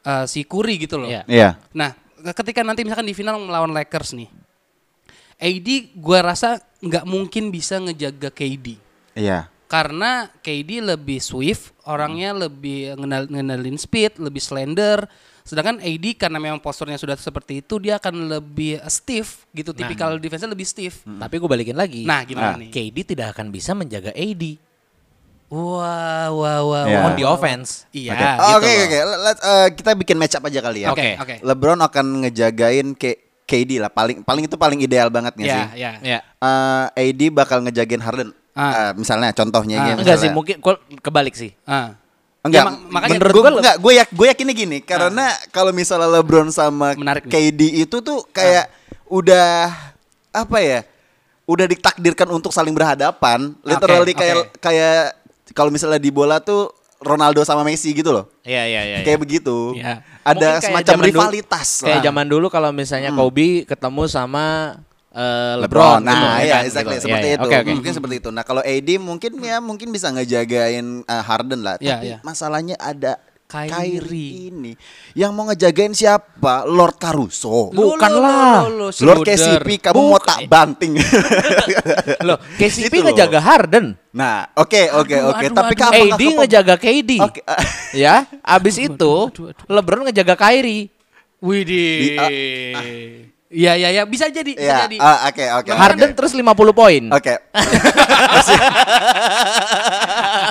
Speaker 3: eh, si Curry gitu loh.
Speaker 1: Iya.
Speaker 2: Iya.
Speaker 3: Nah, ketika nanti misalkan di final melawan Lakers nih. AD gua rasa nggak mungkin bisa ngejaga KD
Speaker 2: Iya.
Speaker 3: karena KD lebih swift, orangnya lebih ngenal- ngenalin speed, lebih slender. Sedangkan AD karena memang posturnya sudah seperti itu, dia akan lebih stiff gitu, tipikal defense lebih stiff.
Speaker 1: Tapi gue balikin lagi.
Speaker 3: Nah, gimana
Speaker 2: Ah.
Speaker 3: nih?
Speaker 1: KD tidak akan bisa menjaga AD
Speaker 3: Wah, wah, wah.
Speaker 2: Ya.
Speaker 1: on
Speaker 3: wah.
Speaker 1: the offense.
Speaker 3: Iya,
Speaker 2: Oke
Speaker 3: gitu
Speaker 2: oke
Speaker 3: loh.
Speaker 2: oke. Let's, eh, kita bikin match up aja kali ya.
Speaker 3: Oke, oke.
Speaker 2: LeBron akan ngejagain K- KD lah paling paling itu paling ideal banget nggak
Speaker 3: Ya,
Speaker 2: sih?
Speaker 3: ya.
Speaker 1: Ya.
Speaker 2: Eh, AD bakal ngejagain Harden.
Speaker 3: Ah.
Speaker 2: Eh, misalnya contohnya
Speaker 3: Ah.
Speaker 2: gitu.
Speaker 1: Enggak sih,
Speaker 2: misalnya.
Speaker 1: mungkin gua kebalik sih.
Speaker 3: Ah.
Speaker 2: Enggak,
Speaker 3: Ya, mak- makanya
Speaker 2: menurut
Speaker 1: gua Ah.
Speaker 2: gue
Speaker 1: le-
Speaker 2: enggak, gue yak, gue yakinnya gini, karena kalau misalnya LeBron sama
Speaker 3: Menarik nih.
Speaker 2: KD itu
Speaker 1: Ah.
Speaker 2: tuh kayak udah apa ya? Udah ditakdirkan untuk saling berhadapan, literally
Speaker 3: oke.
Speaker 2: kayak kayak kalau misalnya di bola tuh Ronaldo sama Messi gitu loh.
Speaker 1: Iya, iya, iya.
Speaker 2: kayak begitu.
Speaker 3: Iya.
Speaker 2: Ada
Speaker 1: Mungkin kayak
Speaker 2: semacam
Speaker 1: zaman dulu-
Speaker 2: rivalitas
Speaker 1: Kayak
Speaker 2: lah. Hmm.
Speaker 1: zaman dulu kalau misalnya Kobe ketemu sama eh,
Speaker 2: LeBron.
Speaker 1: LeBron,
Speaker 2: Nah,
Speaker 1: gitu,
Speaker 2: ya,
Speaker 1: kan,
Speaker 2: exactly
Speaker 1: gitu.
Speaker 2: seperti
Speaker 1: Iya, iya.
Speaker 2: itu.
Speaker 1: Oke, oke.
Speaker 2: Mungkin seperti itu. Nah, kalau AD mungkin ya mungkin bisa ngejagain eh, Harden lah.
Speaker 3: Iya,
Speaker 2: Tapi
Speaker 3: iya.
Speaker 2: masalahnya ada
Speaker 3: Kyrie.
Speaker 2: Kyrie. ini yang mau ngejagain siapa? Lord Caruso.
Speaker 1: Bu- Bukan
Speaker 3: Lu, lu,
Speaker 1: lah.
Speaker 3: lu, lu, si
Speaker 2: Lord
Speaker 3: Luder.
Speaker 2: KCP kamu mau tak banting.
Speaker 1: Loh, KCP
Speaker 2: Gitu loh.
Speaker 1: ngejaga Harden.
Speaker 2: nah, oke oke
Speaker 3: Aduh,
Speaker 2: oke.
Speaker 3: aduh,
Speaker 2: Tapi
Speaker 3: aduh.
Speaker 2: kapan
Speaker 1: AD ngejaga KD.
Speaker 2: Oke.
Speaker 1: Ya, abis itu LeBron ngejaga Kyrie.
Speaker 3: Widih. Iya, iya, iya, bisa jadi, bisa
Speaker 2: Ya,
Speaker 3: jadi.
Speaker 2: ah, oke oke.
Speaker 1: Harden
Speaker 2: oke.
Speaker 1: terus 50 poin.
Speaker 2: Oke. Masih-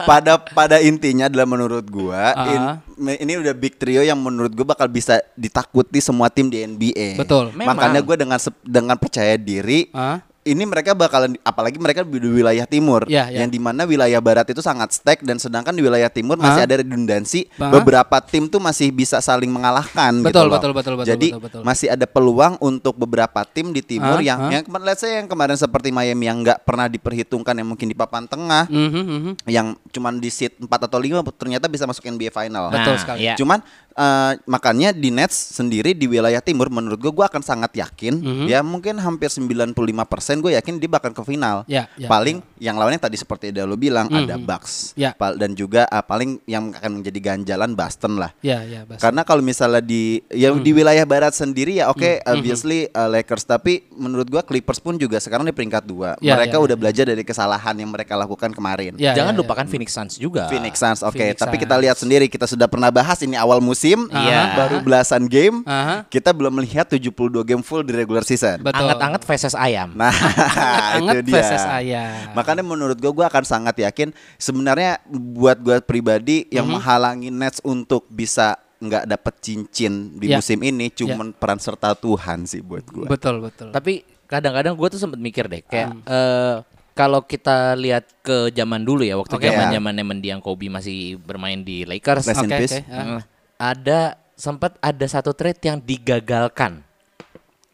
Speaker 2: pada pada intinya adalah menurut gua in- ini udah big trio yang menurut gua bakal bisa ditakuti semua tim di NBA.
Speaker 3: Betul,
Speaker 1: memang.
Speaker 2: Makanya gua dengan sep- dengan percaya diri
Speaker 3: Ah.
Speaker 2: ini mereka bakalan apalagi mereka di wilayah timur
Speaker 3: Ya, ya.
Speaker 2: yang dimana wilayah barat itu sangat stack dan sedangkan di wilayah timur masih
Speaker 3: Ah.
Speaker 2: ada redundansi
Speaker 3: Ah.
Speaker 2: beberapa tim tuh masih bisa saling mengalahkan gitu
Speaker 3: Betul,
Speaker 2: loh.
Speaker 3: betul, betul, betul,
Speaker 2: Jadi
Speaker 3: betul, betul.
Speaker 2: masih ada peluang untuk beberapa tim di timur
Speaker 3: Ah,
Speaker 2: yang
Speaker 3: ah.
Speaker 2: yang kemarin let's say yang kemarin seperti Miami yang nggak pernah diperhitungkan yang mungkin di papan tengah
Speaker 3: Mhm, mhm.
Speaker 2: yang cuman di seat 4 atau 5 ternyata bisa masuk NBA final.
Speaker 3: Betul sekali.
Speaker 1: iya.
Speaker 2: Cuman eh, makanya di Nets sendiri di wilayah timur menurut gue gue akan sangat yakin ya mungkin hampir 95% gue yakin dia bakal ke final.
Speaker 3: Ya, ya,
Speaker 2: paling yang lawannya tadi seperti Ida lo bilang ada Bucks
Speaker 3: Ya.
Speaker 2: Pal- dan juga ah, paling yang akan menjadi ganjalan Boston lah.
Speaker 3: Ya, ya, Bas.
Speaker 2: Karena kalau misalnya di yang di wilayah barat sendiri ya oke obviously uh, Lakers tapi menurut gua Clippers pun juga sekarang di peringkat dua.
Speaker 3: Ya,
Speaker 2: mereka
Speaker 3: ya, ya,
Speaker 2: udah belajar dari kesalahan yang mereka lakukan kemarin.
Speaker 3: Ya,
Speaker 1: Jangan
Speaker 3: ya, ya.
Speaker 1: lupakan Phoenix Suns juga.
Speaker 2: Phoenix Suns oke
Speaker 3: Phoenix
Speaker 2: tapi
Speaker 3: Suns. Ah.
Speaker 2: kita lihat sendiri kita sudah pernah bahas ini awal musim
Speaker 1: Iya.
Speaker 2: baru belasan game
Speaker 3: Aha.
Speaker 2: kita belum melihat 72 game full di regular season.
Speaker 3: Betul.
Speaker 1: Anget-anget faces ayam.
Speaker 2: Nah,
Speaker 3: Anget-anget
Speaker 2: itu dia.
Speaker 3: versus ayam.
Speaker 2: Makanya menurut gue gue akan sangat yakin sebenarnya buat gue pribadi yang
Speaker 3: Mhm.
Speaker 2: menghalangi Nets untuk bisa nggak dapet cincin di
Speaker 3: Ya.
Speaker 2: musim ini cuman peran serta Tuhan sih buat gue.
Speaker 3: Betul, betul.
Speaker 1: Tapi kadang-kadang gue tuh sempet mikir deh kayak
Speaker 3: Hmm.
Speaker 1: eh, kalau kita lihat ke zaman dulu ya waktu
Speaker 3: Oke.
Speaker 2: Iya.
Speaker 1: zaman-zamannya mendiang Kobe masih bermain di Lakers.
Speaker 2: Rest in
Speaker 3: Oke,
Speaker 2: peace.
Speaker 3: oke, ah.
Speaker 1: Mm, Ada sempat ada satu trade yang digagalkan.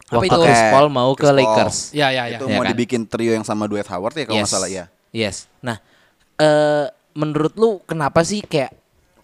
Speaker 3: Apa
Speaker 1: waktu
Speaker 3: itu?
Speaker 1: Chris
Speaker 2: Oke.
Speaker 1: Paul mau
Speaker 2: Chris
Speaker 1: ke
Speaker 2: Paul.
Speaker 1: Lakers.
Speaker 3: Ya, ya, ya.
Speaker 2: Itu
Speaker 1: Ya
Speaker 2: mau
Speaker 1: kan?
Speaker 2: dibikin trio yang sama Dwight Howard ya kalau nggak salah ya.
Speaker 1: Yes. Nah, eh menurut lu kenapa sih kayak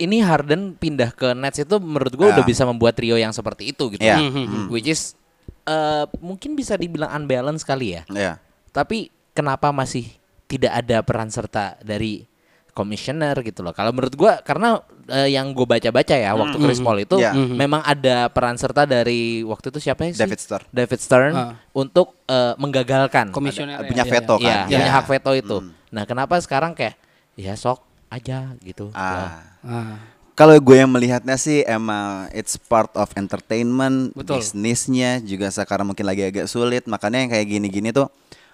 Speaker 1: ini Harden pindah ke Nets itu menurut gua
Speaker 2: Ya.
Speaker 1: udah bisa membuat trio yang seperti itu gitu.
Speaker 2: Ya.
Speaker 3: Mhm,
Speaker 1: Which is eh mungkin bisa dibilang unbalance kali ya.
Speaker 2: Ya.
Speaker 1: Tapi kenapa masih tidak ada peran serta dari komisioner gitu loh. Kalau menurut gua karena eh, yang gue baca-baca ya waktu Chris Paul itu
Speaker 2: Ya.
Speaker 1: memang ada peran serta dari waktu itu siapa sih?
Speaker 2: David Stern.
Speaker 1: David Stern
Speaker 3: Ah.
Speaker 1: untuk eh, menggagalkan
Speaker 3: Komisioner ya,
Speaker 2: punya
Speaker 3: ya,
Speaker 2: veto
Speaker 3: ya.
Speaker 1: Iya,
Speaker 2: kan.
Speaker 1: yang
Speaker 2: Ya.
Speaker 1: punya hak veto itu. Nah, kenapa sekarang kayak ya sok aja gitu.
Speaker 2: Ah.
Speaker 3: Ah.
Speaker 2: Kalau gue yang melihatnya sih emang it's part of entertainment,
Speaker 3: Betul.
Speaker 2: bisnisnya juga sekarang mungkin lagi agak sulit, makanya yang kayak gini-gini tuh.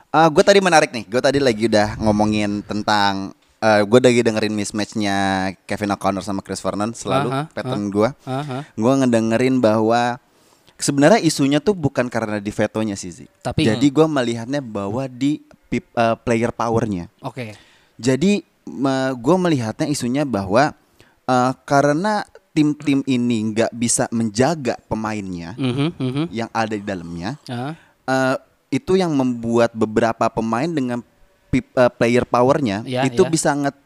Speaker 2: Ah, gue tadi menarik nih, gue tadi lagi udah ngomongin tentang eh gue lagi dengerin mismatchnya Kevin O'Connor sama Chris Vernon selalu
Speaker 3: Aha,
Speaker 2: pattern gue.
Speaker 3: Aha.
Speaker 2: Gue ngedengerin bahwa sebenarnya isunya tuh bukan karena di vetonya sih, Zi.
Speaker 3: Tapi- hmm.
Speaker 2: jadi gue melihatnya bahwa di pip- eh, player powernya.
Speaker 3: Oke.
Speaker 2: Jadi gue melihatnya isunya bahwa eh, karena tim-tim ini nggak bisa menjaga pemainnya
Speaker 3: Mhm, mhm.
Speaker 2: yang ada di dalamnya,
Speaker 3: Ah.
Speaker 2: eh, itu yang membuat beberapa pemain dengan pip- eh, player powernya
Speaker 1: Iya,
Speaker 3: Ya,
Speaker 2: itu
Speaker 3: ya.
Speaker 2: bisa nge-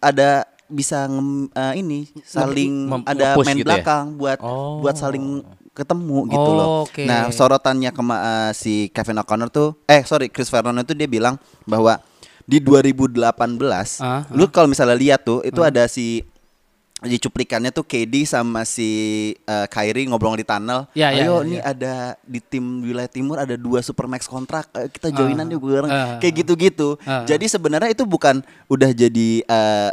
Speaker 2: ada bisa nge- eh, ini saling
Speaker 1: Mem-
Speaker 2: ada
Speaker 1: nge-push
Speaker 2: main
Speaker 1: gitu ya?
Speaker 2: belakang buat
Speaker 1: Oh.
Speaker 2: buat saling ketemu gitu loh.
Speaker 3: Oke.
Speaker 2: Nah sorotannya ke si Kevin O'Connor tuh, eh sorry Chris Vernon itu dia bilang bahwa di 2018,
Speaker 3: Ah,
Speaker 1: Hmm.
Speaker 2: lu kalau misalnya lihat tuh itu ada si di cuplikannya tuh KD sama si eh, Kyrie ngobrol di tunnel.
Speaker 1: Iya,
Speaker 3: Ya, ya,
Speaker 2: Ayo
Speaker 3: ya,
Speaker 2: nih
Speaker 3: ya.
Speaker 2: ada di tim wilayah timur ada dua supermax kontrak. Ayo kita joinan
Speaker 3: Ah,
Speaker 2: yuk bareng.
Speaker 3: ah,
Speaker 2: Kayak gitu-gitu.
Speaker 3: ah.
Speaker 2: Jadi sebenarnya itu bukan udah jadi eh,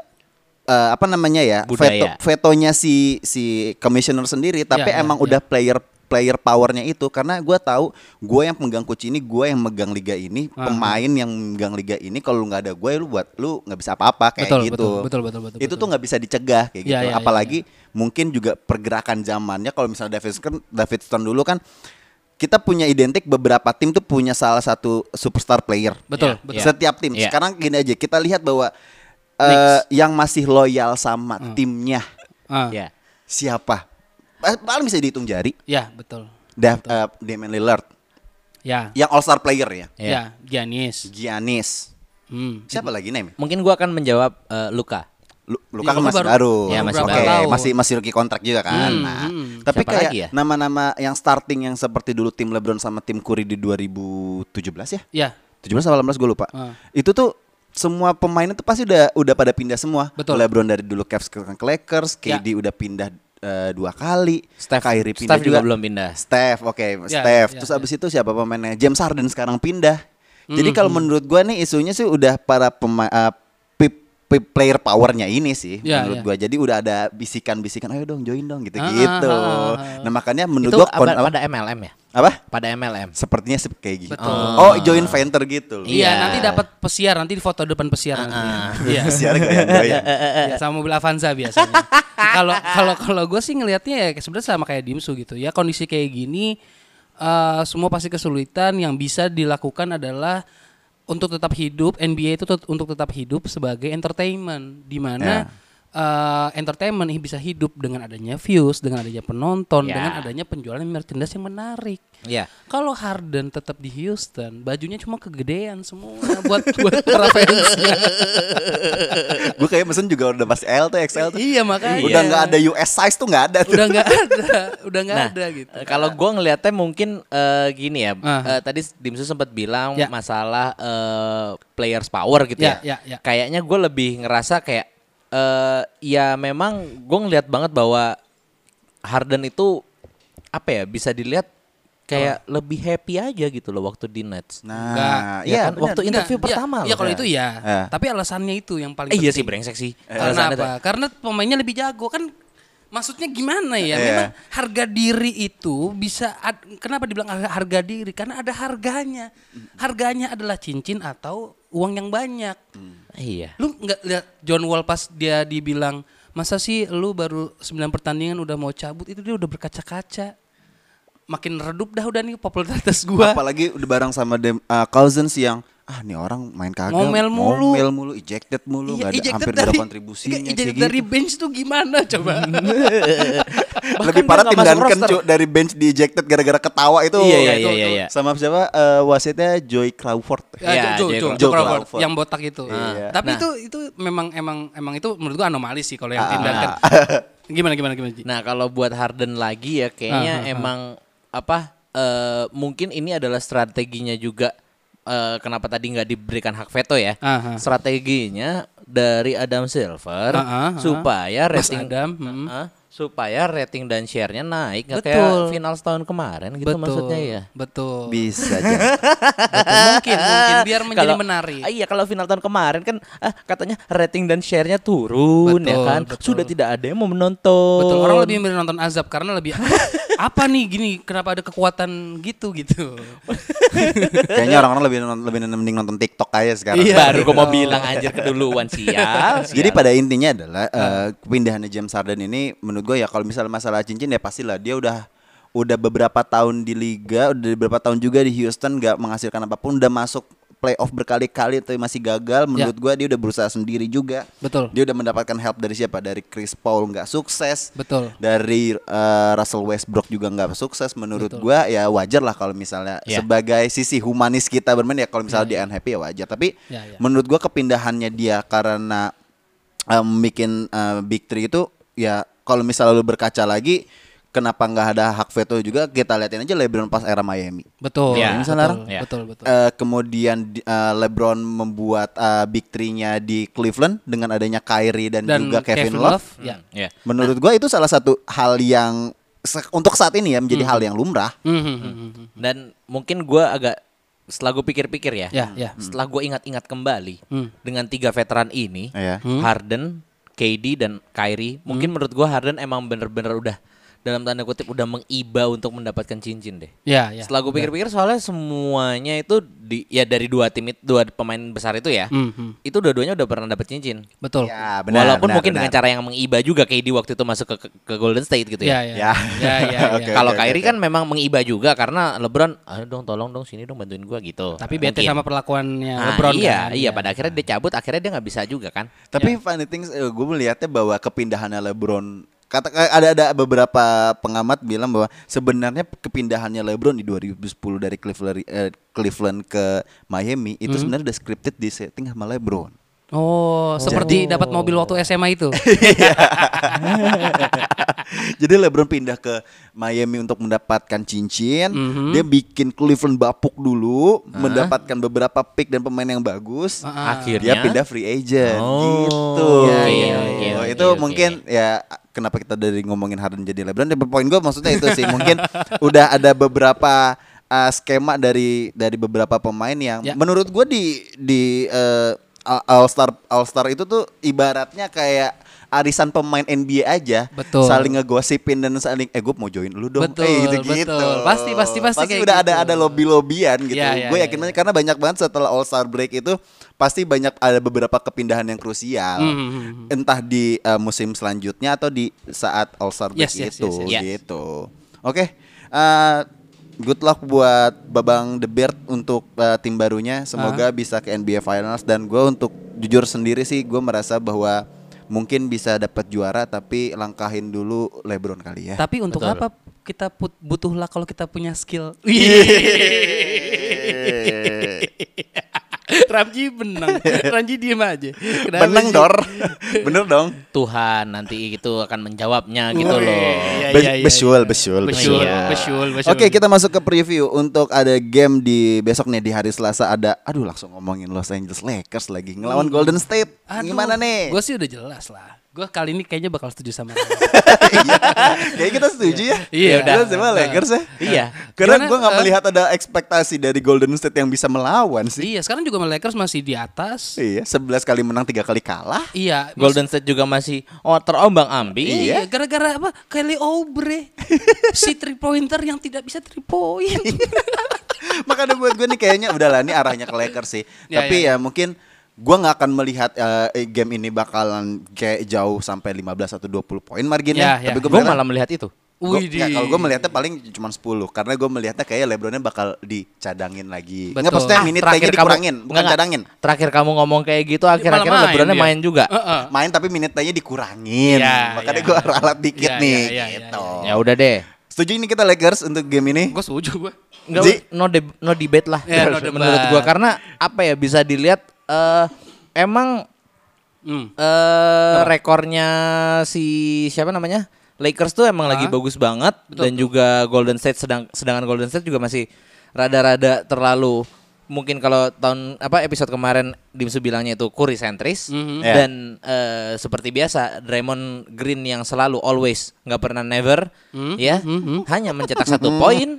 Speaker 2: eh, apa namanya ya?
Speaker 1: Budaya.
Speaker 2: Veto, vetonya si si commissioner sendiri, tapi
Speaker 3: Ya, ya,
Speaker 2: emang
Speaker 3: ya.
Speaker 2: udah player player powernya itu karena gue tahu gue yang pemegang kunci ini gue yang megang liga ini
Speaker 3: Ah.
Speaker 2: pemain yang megang liga ini kalau lu nggak ada gue lu buat lu nggak bisa apa-apa kayak
Speaker 3: Betul,
Speaker 2: gitu
Speaker 3: betul, betul, betul, betul,
Speaker 2: itu
Speaker 3: betul.
Speaker 2: tuh nggak bisa dicegah kayak
Speaker 3: Ya,
Speaker 2: gitu.
Speaker 3: ya, ya,
Speaker 2: Apalagi mungkin juga pergerakan zamannya kalau misalnya Davidson Davidson dulu kan kita punya identik beberapa tim tuh punya salah satu superstar player.
Speaker 3: Betul, Iya.
Speaker 1: Ya, betul. ya.
Speaker 2: Setiap tim.
Speaker 1: Ya.
Speaker 2: Sekarang gini aja kita lihat bahwa eh,
Speaker 3: Knicks. Hmm.
Speaker 2: yang masih loyal sama timnya
Speaker 3: Ah.
Speaker 1: Ya.
Speaker 2: siapa? Pa- Paling bisa dihitung jari.
Speaker 3: Ya, betul.
Speaker 2: Dav, eh, Damian Lillard
Speaker 3: Ya.
Speaker 2: yang all star player ya.
Speaker 1: Ya.
Speaker 3: Ya, Giannis.
Speaker 2: Giannis.
Speaker 3: Hmm.
Speaker 2: Siapa lagi name?
Speaker 1: Mungkin gua akan menjawab eh, Luka.
Speaker 2: Lu- Luka kan
Speaker 3: Ya, Luka
Speaker 2: masih
Speaker 3: baru-
Speaker 2: baru,
Speaker 1: ya, masih
Speaker 2: Oke,
Speaker 1: baru.
Speaker 2: masih masih rookie kontrak juga kan.
Speaker 3: Hmm,
Speaker 2: Nah,
Speaker 3: hmm.
Speaker 2: tapi
Speaker 1: Siapa
Speaker 2: kayak
Speaker 1: lagi ya?
Speaker 2: nama-nama yang starting yang seperti dulu tim LeBron sama tim Curry di 2017 ya,
Speaker 3: Ya.
Speaker 2: 17 atau 18 gue lupa.
Speaker 3: Ah.
Speaker 2: Itu tuh semua pemainnya tuh pasti udah udah pada pindah semua.
Speaker 3: Betul.
Speaker 2: LeBron dari dulu Cavs ke ke Lakers,
Speaker 3: Ya.
Speaker 2: KD udah pindah eh, dua kali,
Speaker 1: Steph,
Speaker 2: Kyrie pindah
Speaker 1: Steph juga belum pindah.
Speaker 2: Steph, oke,
Speaker 3: Ya,
Speaker 2: Steph.
Speaker 3: ya,
Speaker 2: Terus
Speaker 3: ya. Hmm,
Speaker 2: abis itu siapa pemainnya? James Harden sekarang pindah. Jadi kalau menurut gua nih isunya sih udah para pemain player powernya ini sih
Speaker 3: Ya,
Speaker 2: menurut
Speaker 3: ya.
Speaker 2: gua. Jadi udah ada bisikan-bisikan, ayo dong join dong
Speaker 3: Ah,
Speaker 2: gitu-gitu.
Speaker 3: ah, ah, ah.
Speaker 2: Nah makanya menurut
Speaker 1: Itu
Speaker 2: gua kon-
Speaker 1: apa-
Speaker 2: apa,
Speaker 1: pada MLM ya?
Speaker 2: apa?
Speaker 1: Pada MLM.
Speaker 2: Sepertinya sep- kayak gitu.
Speaker 3: Betul.
Speaker 2: Oh join Venter gitu.
Speaker 3: Iya,
Speaker 1: Iya.
Speaker 3: nanti dapat pesiar, nanti di foto depan pesiar nanti. Iya.
Speaker 2: Siaran goyang-goyang.
Speaker 3: Ya, sama mobil Avanza biasanya. Kalau kalau kalau gue sih ngelihatnya ya sebenarnya sama kayak Dimsu gitu ya kondisi kayak gini eh, semua pasti kesulitan yang bisa dilakukan adalah untuk tetap hidup NBA itu tet- untuk tetap hidup sebagai entertainment di mana eh, entertainment ini bisa hidup dengan adanya views, dengan adanya penonton,
Speaker 1: Ya.
Speaker 3: dengan adanya penjualan merchandise yang menarik.
Speaker 1: Iya.
Speaker 3: Kalau Harden tetap di Houston, bajunya cuma kegedean semua buat buat para fansnya.
Speaker 2: Gue kayak mesen juga udah pasti L tuh XL tuh.
Speaker 3: iya makanya.
Speaker 2: Udah nggak ada US size tuh nggak ada tuh.
Speaker 3: udah nggak ada, udah nggak ada gitu.
Speaker 1: eh, Kalau gua ngelihatnya mungkin eh, gini ya.
Speaker 3: Ah.
Speaker 1: eh, tadi Dimsu sempat bilang
Speaker 3: Ya.
Speaker 1: masalah eh, players power gitu
Speaker 3: Ya,
Speaker 1: ya.
Speaker 3: ya, ya.
Speaker 1: Kayaknya gua lebih ngerasa kayak eh ya memang gua ngelihat banget bahwa Harden itu apa ya bisa dilihat kayak lebih happy aja gitu loh waktu di Nets.
Speaker 3: Nggak.
Speaker 2: Nah,
Speaker 1: Ya
Speaker 2: iya
Speaker 1: kan, waktu
Speaker 2: bener.
Speaker 1: interview
Speaker 3: Nggak,
Speaker 1: pertama
Speaker 3: Iya,
Speaker 1: loh. Nah.
Speaker 3: iya kalau itu ya.
Speaker 2: Ya.
Speaker 3: Tapi alasannya itu yang paling
Speaker 1: Eh, iya sih
Speaker 3: penting.
Speaker 1: brengsek sih.
Speaker 3: Karena
Speaker 1: Alasannya
Speaker 3: apa?
Speaker 1: tuh.
Speaker 3: Karena pemainnya lebih jago kan. Maksudnya gimana
Speaker 2: Iya.
Speaker 3: ya? Memang harga diri itu bisa ad- kenapa dibilang har- harga diri? Karena ada harganya. Harganya adalah cincin atau uang yang banyak.
Speaker 1: Iya.
Speaker 3: Lu nggak lihat John Wall pas dia dibilang masa sih lu baru 9 pertandingan udah mau cabut itu dia udah berkaca-kaca. Makin redup dah udah nih popularitas gua.
Speaker 2: Apalagi udah bareng sama dem, uh, Cousins yang ah nih orang main kagak
Speaker 3: Ngomel mulu.
Speaker 2: ngomel mulu, ejected
Speaker 1: Iya,
Speaker 2: mulu, nggak ada
Speaker 3: Iya, ejected
Speaker 2: hampir nggak ada
Speaker 3: dari-
Speaker 2: kontribusinya
Speaker 3: nggak,
Speaker 2: kayak
Speaker 3: ejected
Speaker 2: gitu. Hmm.
Speaker 3: dari bench tuh gimana coba?
Speaker 1: Bahkan
Speaker 2: Lebih
Speaker 1: dia
Speaker 2: parah
Speaker 1: nggak
Speaker 2: tim
Speaker 1: masuk
Speaker 2: Duncan
Speaker 1: roster.
Speaker 2: cuy, dari bench di ejected gara-gara ketawa itu.
Speaker 1: Iya, iya, iya,
Speaker 2: Itu- itu.
Speaker 1: iya.
Speaker 2: Sama siapa? Eh, wasitnya Joy Crawford.
Speaker 3: Ya,
Speaker 1: Ya, Joe
Speaker 3: Jo- Jo-
Speaker 1: Crawford.
Speaker 3: Jo
Speaker 2: Joe
Speaker 3: Crawford,
Speaker 2: Crawford.
Speaker 3: yang botak itu.
Speaker 2: Iya.
Speaker 3: Tapi
Speaker 1: Nah.
Speaker 3: itu itu memang emang emang itu menurut gua anomali sih kalau yang tim
Speaker 2: Ah.
Speaker 3: Duncan. Gimana gimana gimana? Ji?
Speaker 1: Nah kalau buat Harden lagi ya kayaknya
Speaker 3: Ah, ah, ah.
Speaker 1: emang apa eh, mungkin ini adalah strateginya juga eh, kenapa tadi nggak diberikan hak veto ya?
Speaker 3: Ah, ah.
Speaker 1: Strateginya dari Adam Silver
Speaker 3: Ah, ah, ah.
Speaker 1: supaya
Speaker 3: Mas
Speaker 1: rating
Speaker 3: Adam, mm.
Speaker 1: Ah, supaya rating dan share-nya naik nggak
Speaker 3: Betul.
Speaker 1: kayak final tahun kemarin gitu maksudnya ya. Ah,
Speaker 3: Betul.
Speaker 2: Bisa jadi.
Speaker 3: Betul. Mungkin mungkin biar menjadi
Speaker 1: Kalau-
Speaker 3: menarik.
Speaker 1: ah, Iya kalau final tahun kemarin kan ah, katanya rating dan share-nya turun ya
Speaker 3: Betul,
Speaker 1: kan.
Speaker 3: betul.
Speaker 1: Sudah tidak ada yang mau menonton.
Speaker 3: Betul, orang lebih milih nonton azab karena lebih apa nih gini kenapa ada kekuatan gitu gitu.
Speaker 2: Kayaknya orang-orang lebih non- lebih mending nonton TikTok aja sekarang.
Speaker 1: Iya, Baru gue mau bilang anjir keduluan sial. sial.
Speaker 2: Jadi pada intinya adalah eh, pindahannya James Harden ini menurut gue ya kalau misalnya masalah cincin ya pastilah dia udah udah beberapa tahun di liga, udah beberapa tahun juga di Houston nggak menghasilkan apapun, udah masuk playoff berkali-kali tapi masih gagal. Menurut gue dia udah berusaha sendiri juga.
Speaker 3: Betul.
Speaker 2: Dia udah mendapatkan help dari siapa? Dari Chris Paul nggak sukses.
Speaker 3: Betul.
Speaker 2: Dari eh, Russell Westbrook juga nggak sukses. Menurut gue ya wajar lah kalau misalnya
Speaker 1: Iya.
Speaker 2: sebagai sisi humanis kita bermain ya kalau misalnya dia unhappy ya wajar. Tapi
Speaker 3: Iya, iya.
Speaker 2: menurut gua kepindahannya dia karena em, bikin eh, big three itu ya kalau misalnya lu berkaca lagi kenapa nggak ada hak veto juga kita liatin aja LeBron pas era Miami.
Speaker 3: Betul.
Speaker 4: Iya,
Speaker 3: betul,
Speaker 2: salah.
Speaker 4: Iya.
Speaker 3: betul, betul.
Speaker 2: Eh, kemudian di- eh, LeBron membuat eh, big three-nya di Cleveland dengan adanya Kyrie dan,
Speaker 3: Dan
Speaker 2: juga Kevin, Love.
Speaker 3: ya.
Speaker 4: Iya.
Speaker 2: Menurut gua itu salah satu hal yang se- untuk saat ini ya menjadi hal yang lumrah.
Speaker 3: Mhm, mhm, mhm.
Speaker 1: Dan mungkin gua agak setelah gue pikir-pikir ya,
Speaker 3: Ya, ya.
Speaker 1: setelah gue ingat-ingat kembali
Speaker 3: Hmm.
Speaker 1: dengan tiga veteran ini,
Speaker 2: Iya.
Speaker 1: Harden, KD dan Kyrie, mungkin menurut gua Harden emang bener-bener udah dalam tanda kutip udah mengiba untuk mendapatkan cincin deh.
Speaker 3: Ya, ya.
Speaker 1: Setelah gue pikir-pikir soalnya semuanya itu di ya dari dua tim itu dua pemain besar itu ya.
Speaker 3: Mhm,
Speaker 1: Itu dua-duanya udah pernah dapat cincin.
Speaker 3: Betul.
Speaker 2: Ya, benar,
Speaker 1: Walaupun
Speaker 2: benar,
Speaker 1: mungkin
Speaker 2: benar.
Speaker 1: dengan cara yang mengiba juga KD waktu itu masuk ke ke- ke Golden State gitu ya.
Speaker 3: Ya, ya.
Speaker 2: Ya.
Speaker 3: Ya, ya,
Speaker 2: Oke.
Speaker 3: ya.
Speaker 1: Kalau
Speaker 2: oke,
Speaker 1: Kyrie
Speaker 2: oke.
Speaker 1: kan memang mengiba juga karena LeBron, ayo dong tolong dong sini dong bantuin gua gitu.
Speaker 3: Tapi bete
Speaker 1: Mungkin.
Speaker 3: sama perlakuannya
Speaker 2: Ah,
Speaker 1: Nah,
Speaker 3: LeBron
Speaker 1: iya,
Speaker 3: kan,
Speaker 1: iya.
Speaker 3: ya.
Speaker 1: Pada akhirnya dia cabut, akhirnya dia nggak bisa juga kan.
Speaker 2: Tapi funny things gue melihatnya bahwa kepindahannya LeBron kata eh, ada ada beberapa pengamat bilang bahwa sebenarnya kepindahannya LeBron di 2010 dari Cleveland eh, Cleveland ke Miami itu sebenarnya udah scripted di setting sama LeBron.
Speaker 3: Oh, seperti dapat mobil waktu SMA itu.
Speaker 2: Iya. Jadi LeBron pindah ke Miami untuk mendapatkan cincin. Dia bikin Cleveland bapuk dulu, mendapatkan beberapa pick dan pemain yang bagus.
Speaker 3: Ah.
Speaker 1: Akhirnya
Speaker 2: Dia pindah free agent
Speaker 1: Oh,
Speaker 2: gitu.
Speaker 1: iya, iya, oke,
Speaker 2: Oh,
Speaker 1: oke,
Speaker 2: itu
Speaker 1: oke.
Speaker 2: mungkin ya kenapa kita dari ngomongin Harden jadi LeBron ya poin gue maksudnya itu sih mungkin udah ada beberapa uh, skema dari dari beberapa pemain yang
Speaker 3: Ya.
Speaker 2: menurut gue di di uh, All Star All Star itu tuh ibaratnya kayak arisan pemain NBA aja
Speaker 3: Betul.
Speaker 2: saling ngegosipin dan saling eh gue mau join lu dong
Speaker 3: Betul,
Speaker 2: eh gitu-gitu
Speaker 3: betul. Pasti, pasti, pasti kayak
Speaker 2: udah ada
Speaker 3: gitu.
Speaker 2: ada lobby lobbyan gitu
Speaker 3: Ya, ya,
Speaker 2: gue
Speaker 3: ya,
Speaker 2: yakin
Speaker 3: ya.
Speaker 2: banget karena banyak banget setelah All Star break itu pasti banyak ada beberapa kepindahan yang krusial
Speaker 3: Hmm,
Speaker 2: entah di eh, musim selanjutnya atau di saat All Star break
Speaker 3: Yes, yes,
Speaker 2: itu
Speaker 3: yes,
Speaker 1: yes.
Speaker 2: gitu. Oke, eh, good luck buat Babang The Beard untuk eh, tim barunya. Semoga bisa ke NBA Finals dan gue untuk jujur sendiri sih gue merasa bahwa mungkin bisa dapat juara tapi langkahin dulu LeBron kali ya.
Speaker 3: Tapi untuk apa kita put- butuhlah kalau kita punya skill.
Speaker 2: Iya.
Speaker 3: Ramji benang. Ramji diem aja. Kenapa
Speaker 2: Beneng
Speaker 3: sih?
Speaker 2: dor, bener dong.
Speaker 1: Tuhan nanti itu akan menjawabnya gitu
Speaker 3: Wih,
Speaker 1: loh.
Speaker 3: iya,
Speaker 2: Be-
Speaker 3: iya, iya,
Speaker 2: besul,
Speaker 3: iya.
Speaker 2: besul,
Speaker 3: Besul,
Speaker 1: Iya.
Speaker 3: besul, besul.
Speaker 2: Oke, kita masuk ke preview untuk ada game di besok nih di hari Selasa ada aduh langsung ngomongin Los Angeles Lakers lagi ngelawan Golden State. Gimana nih?
Speaker 3: Gue sih udah jelas lah. Gue kali ini kayaknya bakal setuju sama. lo.
Speaker 2: Iya. Kayaknya kita setuju ya.
Speaker 3: Iya,
Speaker 2: Kita
Speaker 3: udah.
Speaker 2: semua
Speaker 3: Udah.
Speaker 2: Lakers ya.
Speaker 1: Iya.
Speaker 2: Karena
Speaker 3: Gimana,
Speaker 2: gue nggak
Speaker 3: eh?
Speaker 2: melihat ada ekspektasi dari Golden State yang bisa melawan sih.
Speaker 3: iya, sekarang juga Lakers masih di atas.
Speaker 2: Iya, 11 kali menang, tiga kali kalah.
Speaker 3: Iya,
Speaker 1: Golden State juga masih oh terombang ambing.
Speaker 3: Iya, gara-gara apa? Kelly Oubre. si three pointer yang tidak bisa three point.
Speaker 2: Makanya buat gue nih kayaknya udahlah nih arahnya ke Lakers sih.
Speaker 3: Ya,
Speaker 2: Tapi
Speaker 3: ya,
Speaker 2: ya mungkin gue nggak akan melihat eh, game ini bakalan kayak jauh sampai 15 atau 20 poin marginnya.
Speaker 3: Ya, ya.
Speaker 2: Tapi gue
Speaker 1: Gue malah melihat itu.
Speaker 2: Gua-
Speaker 3: Widih.
Speaker 2: nggak, kalau gue melihatnya paling cuma 10 karena gue melihatnya kayak Lebronnya bakal dicadangin lagi.
Speaker 3: Betul.
Speaker 2: Enggak maksudnya
Speaker 3: Ah,
Speaker 2: minit
Speaker 1: terakhir
Speaker 2: kayaknya
Speaker 1: kamu-
Speaker 2: dikurangin, bukan
Speaker 1: Nggak, nggak.
Speaker 2: cadangin.
Speaker 1: Terakhir kamu ngomong kayak gitu akhir-akhir
Speaker 3: malah main
Speaker 1: LeBronnya
Speaker 3: dia. Eh.
Speaker 1: main juga.
Speaker 3: ya? Heeh.
Speaker 2: Main tapi minitnya dikurangin.
Speaker 3: Ya,
Speaker 2: Makanya
Speaker 3: ya.
Speaker 2: gue ralat dikit
Speaker 3: Ya,
Speaker 2: nih
Speaker 3: ya, ya, ya,
Speaker 2: gitu.
Speaker 1: Ya udah deh.
Speaker 2: Setuju ini kita Lakers untuk game ini?
Speaker 3: Gue setuju gue.
Speaker 1: Enggak
Speaker 2: Ji.
Speaker 1: no deb- no debate lah
Speaker 3: Ya, no
Speaker 1: menurut
Speaker 3: debat.
Speaker 1: gua karena apa ya bisa dilihat eh emang
Speaker 3: Hmm.
Speaker 1: eh rekornya si siapa namanya? Lakers tuh emang lagi bagus banget dan juga Golden State sedang sedangkan Golden State juga masih rada-rada terlalu mungkin kalau tahun apa episode kemarin Dimsu bilangnya itu Curry sentris
Speaker 2: Ya.
Speaker 1: dan eh, seperti biasa Draymond Green yang selalu always nggak pernah never ya hanya mencetak satu poin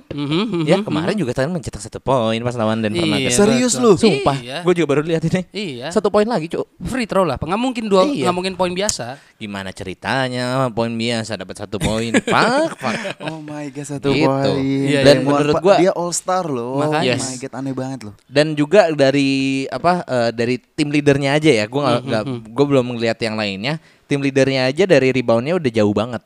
Speaker 1: ya kemarin juga tadi mencetak satu poin pas lawan Denver
Speaker 3: Iya,
Speaker 1: Nuggets.
Speaker 2: Serius
Speaker 3: betul.
Speaker 2: lu?
Speaker 1: Sumpah,
Speaker 3: Iya.
Speaker 1: gue juga baru lihat ini.
Speaker 3: Iya.
Speaker 1: Satu poin lagi, Cuk.
Speaker 3: Free throw lah. Nggak mungkin dua,
Speaker 1: Iya.
Speaker 3: nggak mungkin poin biasa.
Speaker 1: gimana ceritanya poin biasa dapat satu poin pak pak
Speaker 2: Oh my god satu
Speaker 1: Gitu.
Speaker 2: poin.
Speaker 1: Iya,
Speaker 2: Dan
Speaker 1: iya.
Speaker 2: menurut
Speaker 1: Menurut
Speaker 2: gua
Speaker 1: gua-
Speaker 2: dia all star loh.
Speaker 3: Makanya.
Speaker 2: Oh my god aneh banget loh.
Speaker 1: dan juga dari apa eh, dari tim leadernya aja ya gue
Speaker 3: Hmm,
Speaker 1: nggak gue belum melihat yang lainnya tim leadernya aja dari reboundnya udah jauh banget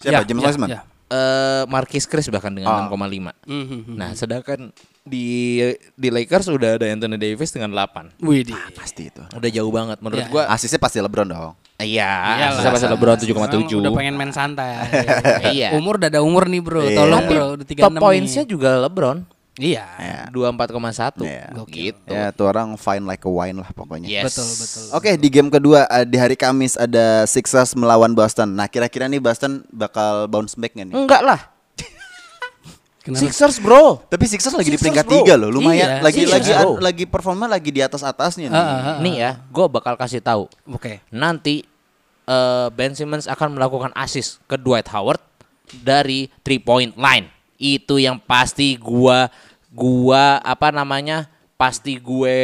Speaker 2: Siapa?
Speaker 3: Ya,
Speaker 2: James
Speaker 3: ya,
Speaker 2: Wiseman?
Speaker 3: ya.
Speaker 1: eh Marquis Chris bahkan
Speaker 2: Ah.
Speaker 1: dengan 6,5
Speaker 3: Mhm.
Speaker 1: nah sedangkan di di Lakers udah ada Anthony Davis dengan 8
Speaker 3: Widih.
Speaker 2: Pasti itu.
Speaker 1: udah jauh banget menurut
Speaker 3: Iya.
Speaker 1: gua
Speaker 2: Asisnya pasti LeBron dong.
Speaker 1: iya
Speaker 3: Iyalah.
Speaker 1: siapa sih LeBron 7,7
Speaker 3: Orang Udah pengen main santai.
Speaker 1: Iya.
Speaker 3: Umur udah ada umur nih bro.
Speaker 2: Iya.
Speaker 3: Tolong
Speaker 2: Tapi
Speaker 3: bro. Udah tiga
Speaker 1: top pointsnya juga LeBron
Speaker 3: Iya.
Speaker 1: dua empat koma satu
Speaker 2: Iya.
Speaker 1: gitu
Speaker 2: Ya, tuh orang fine like a wine lah pokoknya.
Speaker 1: Yes.
Speaker 3: Betul, betul.
Speaker 2: Oke, di game kedua eh, di hari Kamis ada Sixers melawan Boston. Nah, kira-kira nih Boston bakal bounce back nggak nih?
Speaker 1: enggak lah
Speaker 3: Kenapa?
Speaker 1: Sixers bro
Speaker 2: Tapi Sixers lagi
Speaker 1: Sixers,
Speaker 2: di peringkat
Speaker 1: bro.
Speaker 2: 3 loh, lumayan
Speaker 3: Iya,
Speaker 2: lagi
Speaker 1: Sixers,
Speaker 2: lagi
Speaker 1: bro.
Speaker 2: lagi performa lagi di atas-atasnya nih.
Speaker 3: Ah, ah, ah.
Speaker 1: nih ya gue bakal kasih tahu
Speaker 3: Oke.
Speaker 1: nanti eh, Ben Simmons akan melakukan assist ke Dwight Howard dari three point line. Itu yang pasti gua gua apa namanya? Pasti gue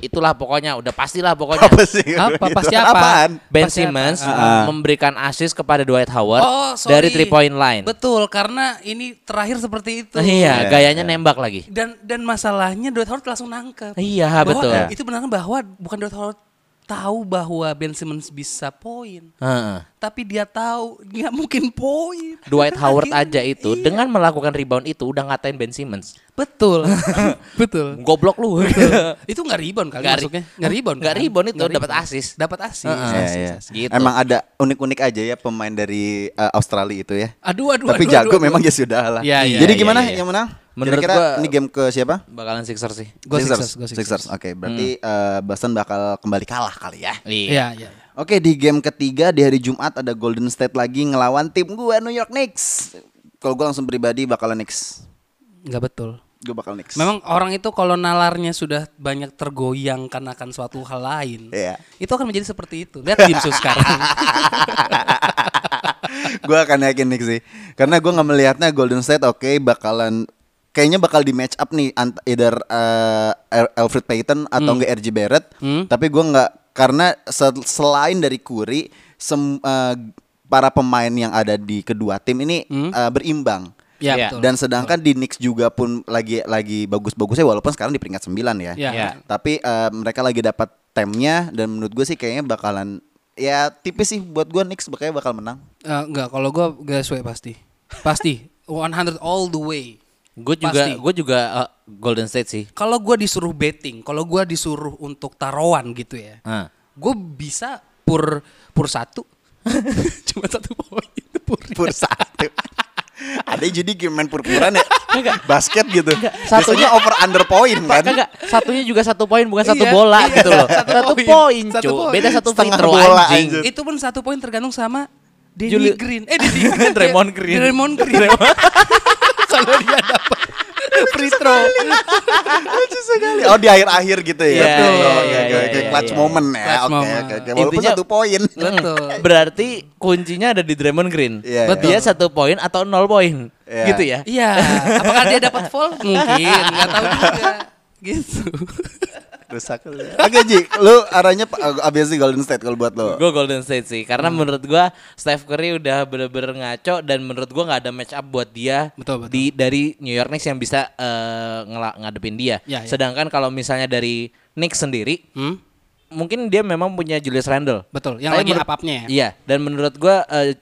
Speaker 1: itulah pokoknya udah pastilah pokoknya
Speaker 2: sih?
Speaker 3: Apa
Speaker 2: Itu
Speaker 3: pasti apa?
Speaker 2: gitu. Apaan?
Speaker 1: Ben
Speaker 3: Pasti apa?
Speaker 1: Simmons eh,
Speaker 2: Ah.
Speaker 1: memberikan assist kepada Dwight Howard
Speaker 3: Oh, sorry.
Speaker 1: dari three point line.
Speaker 3: Betul, karena ini terakhir seperti itu.
Speaker 1: Iya,
Speaker 2: Iya,
Speaker 1: gayanya
Speaker 2: iya.
Speaker 1: nembak lagi.
Speaker 3: Dan dan masalahnya Dwight Howard langsung nangkep.
Speaker 1: Iya,
Speaker 3: Bahwa
Speaker 1: betul.
Speaker 3: Itu benar bahwa bukan Dwight Howard tahu bahwa Ben Simmons bisa poin,
Speaker 1: Heeh.
Speaker 3: tapi dia tahu nggak mungkin poin.
Speaker 1: Dwight Howard aja
Speaker 3: Akhirnya,
Speaker 1: itu
Speaker 3: iya.
Speaker 1: dengan melakukan rebound itu udah ngatain Ben Simmons.
Speaker 3: betul, betul.
Speaker 1: Goblok lu.
Speaker 3: itu nggak rebound kali
Speaker 1: Nggak ri-
Speaker 3: masuknya, nggak rebound,
Speaker 1: nggak
Speaker 3: kan?
Speaker 1: rebound itu,
Speaker 3: Nggak
Speaker 1: dapat
Speaker 3: rebound.
Speaker 1: assist.
Speaker 3: dapat asis.
Speaker 2: Iya, iya.
Speaker 1: Gitu.
Speaker 2: Emang ada unik-unik aja ya pemain dari eh, Australia itu ya.
Speaker 3: Aduh, aduh,
Speaker 2: Tapi
Speaker 3: aduh,
Speaker 2: jago
Speaker 3: aduh, aduh.
Speaker 2: memang ya sudah lah.
Speaker 3: Iya, iya,
Speaker 2: Jadi
Speaker 1: iya,
Speaker 2: gimana
Speaker 1: iya.
Speaker 2: yang menang?
Speaker 1: Menurut
Speaker 2: Kira-kira
Speaker 1: gua-
Speaker 2: ini game ke siapa?
Speaker 1: Bakalan Sixers sih.
Speaker 3: Gua Sixers, gua
Speaker 2: Sixers.
Speaker 3: Sixers.
Speaker 2: Oke, berarti eh, Boston bakal kembali kalah kali ya.
Speaker 1: Iya.
Speaker 3: Iya, iya. iya.
Speaker 2: Oke, di game ketiga di hari Jumat ada Golden State lagi ngelawan tim gua New York Knicks. Kalau gua langsung pribadi bakalan Knicks.
Speaker 3: Nggak betul.
Speaker 2: Gua bakal Knicks.
Speaker 3: Memang orang itu kalau nalarnya sudah banyak tergoyangkan akan suatu hal lain,
Speaker 2: Iya.
Speaker 3: itu akan menjadi seperti itu. Lihat Jimsu sekarang.
Speaker 2: gua akan yakin Knicks sih. Karena gua nggak melihatnya Golden State oke bakalan kayaknya bakal di match up nih ant- either eh, Al- Alfred Payton
Speaker 3: Hmm.
Speaker 2: atau enggak RJ Barrett. Tapi gua nggak karena se- selain dari Curry sem- eh, para pemain yang ada di kedua tim ini eh, berimbang.
Speaker 3: Iya,
Speaker 1: Iya.
Speaker 3: Hmm. betul.
Speaker 2: Dan sedangkan di Knicks juga pun lagi lagi bagus-bagusnya walaupun sekarang di peringkat 9 ya.
Speaker 3: Iya.
Speaker 1: Iya.
Speaker 2: Tapi eh, mereka lagi dapat temnya dan menurut gue sih kayaknya bakalan ya tipis sih buat gue Knicks bakal bakal menang.
Speaker 3: Eh, enggak, kalau gue gasway pasti. Pasti. 100 all the way.
Speaker 1: Gue juga
Speaker 3: Pasti.
Speaker 1: gue juga uh, Golden State sih.
Speaker 3: Kalau gue disuruh betting, kalau gue disuruh untuk taruhan gitu ya,
Speaker 1: Heeh.
Speaker 3: gue bisa pur pur satu, cuma satu poin pur.
Speaker 2: Pur satu. Ada jadi game main purpuran ya. Basket gitu.
Speaker 1: Satunya-
Speaker 2: Biasanya over under point kan.
Speaker 1: Kagak, satunya juga satu poin bukan satu
Speaker 3: Iya,
Speaker 1: bola
Speaker 3: iya,
Speaker 1: gitu loh.
Speaker 3: satu
Speaker 1: Satu
Speaker 3: poin.
Speaker 1: poin,
Speaker 3: Satu
Speaker 1: cu.
Speaker 3: poin.
Speaker 1: Beda satu free
Speaker 2: Setengah
Speaker 1: throw
Speaker 2: bola
Speaker 1: anjing.
Speaker 2: aja.
Speaker 3: Itu pun satu poin tergantung sama Danny
Speaker 1: Juli-
Speaker 3: Green. Eh Danny Green.
Speaker 1: Draymond Green.
Speaker 3: Draymond Green. Kalau dia dapat free throw.
Speaker 2: Oh di akhir-akhir gitu ya.
Speaker 1: Iya,
Speaker 2: Betul.
Speaker 1: iya,
Speaker 2: Oke,
Speaker 1: iya,
Speaker 2: oke,
Speaker 1: iya,
Speaker 2: oke.
Speaker 1: iya,
Speaker 2: clutch
Speaker 1: iya.
Speaker 2: moment ya.
Speaker 3: Clutch
Speaker 2: Oke,
Speaker 3: moment.
Speaker 2: oke, oke. Walaupun
Speaker 1: Intinya-
Speaker 2: satu poin.
Speaker 3: Betul.
Speaker 1: Berarti kuncinya ada di Draymond Green.
Speaker 2: Iya,
Speaker 1: Betul. Dia
Speaker 3: iya.
Speaker 1: satu poin atau nol poin.
Speaker 2: Iya.
Speaker 1: Gitu ya.
Speaker 3: Iya, apakah dia dapat fall? Mungkin, nggak tahu juga. Gitu.
Speaker 2: Rusak. Oke Ji, lu arahnya pa- obviously Golden State kalau buat lo.
Speaker 1: Gue Golden State sih karena
Speaker 3: Hmm.
Speaker 1: menurut gua Steph Curry udah bener-bener ngaco dan menurut gua nggak ada match up buat dia
Speaker 3: Betul, betul.
Speaker 1: di dari New York Knicks yang bisa eh, ngela- ngadepin dia.
Speaker 3: Ya, ya.
Speaker 1: Sedangkan kalau misalnya dari Knicks sendiri
Speaker 3: Hmm?
Speaker 1: mungkin dia memang punya Julius Randle.
Speaker 3: Betul, yang
Speaker 1: Tapi
Speaker 3: lagi
Speaker 1: menurut-
Speaker 3: up-up-nya ya.
Speaker 1: Iya, dan menurut gua eh,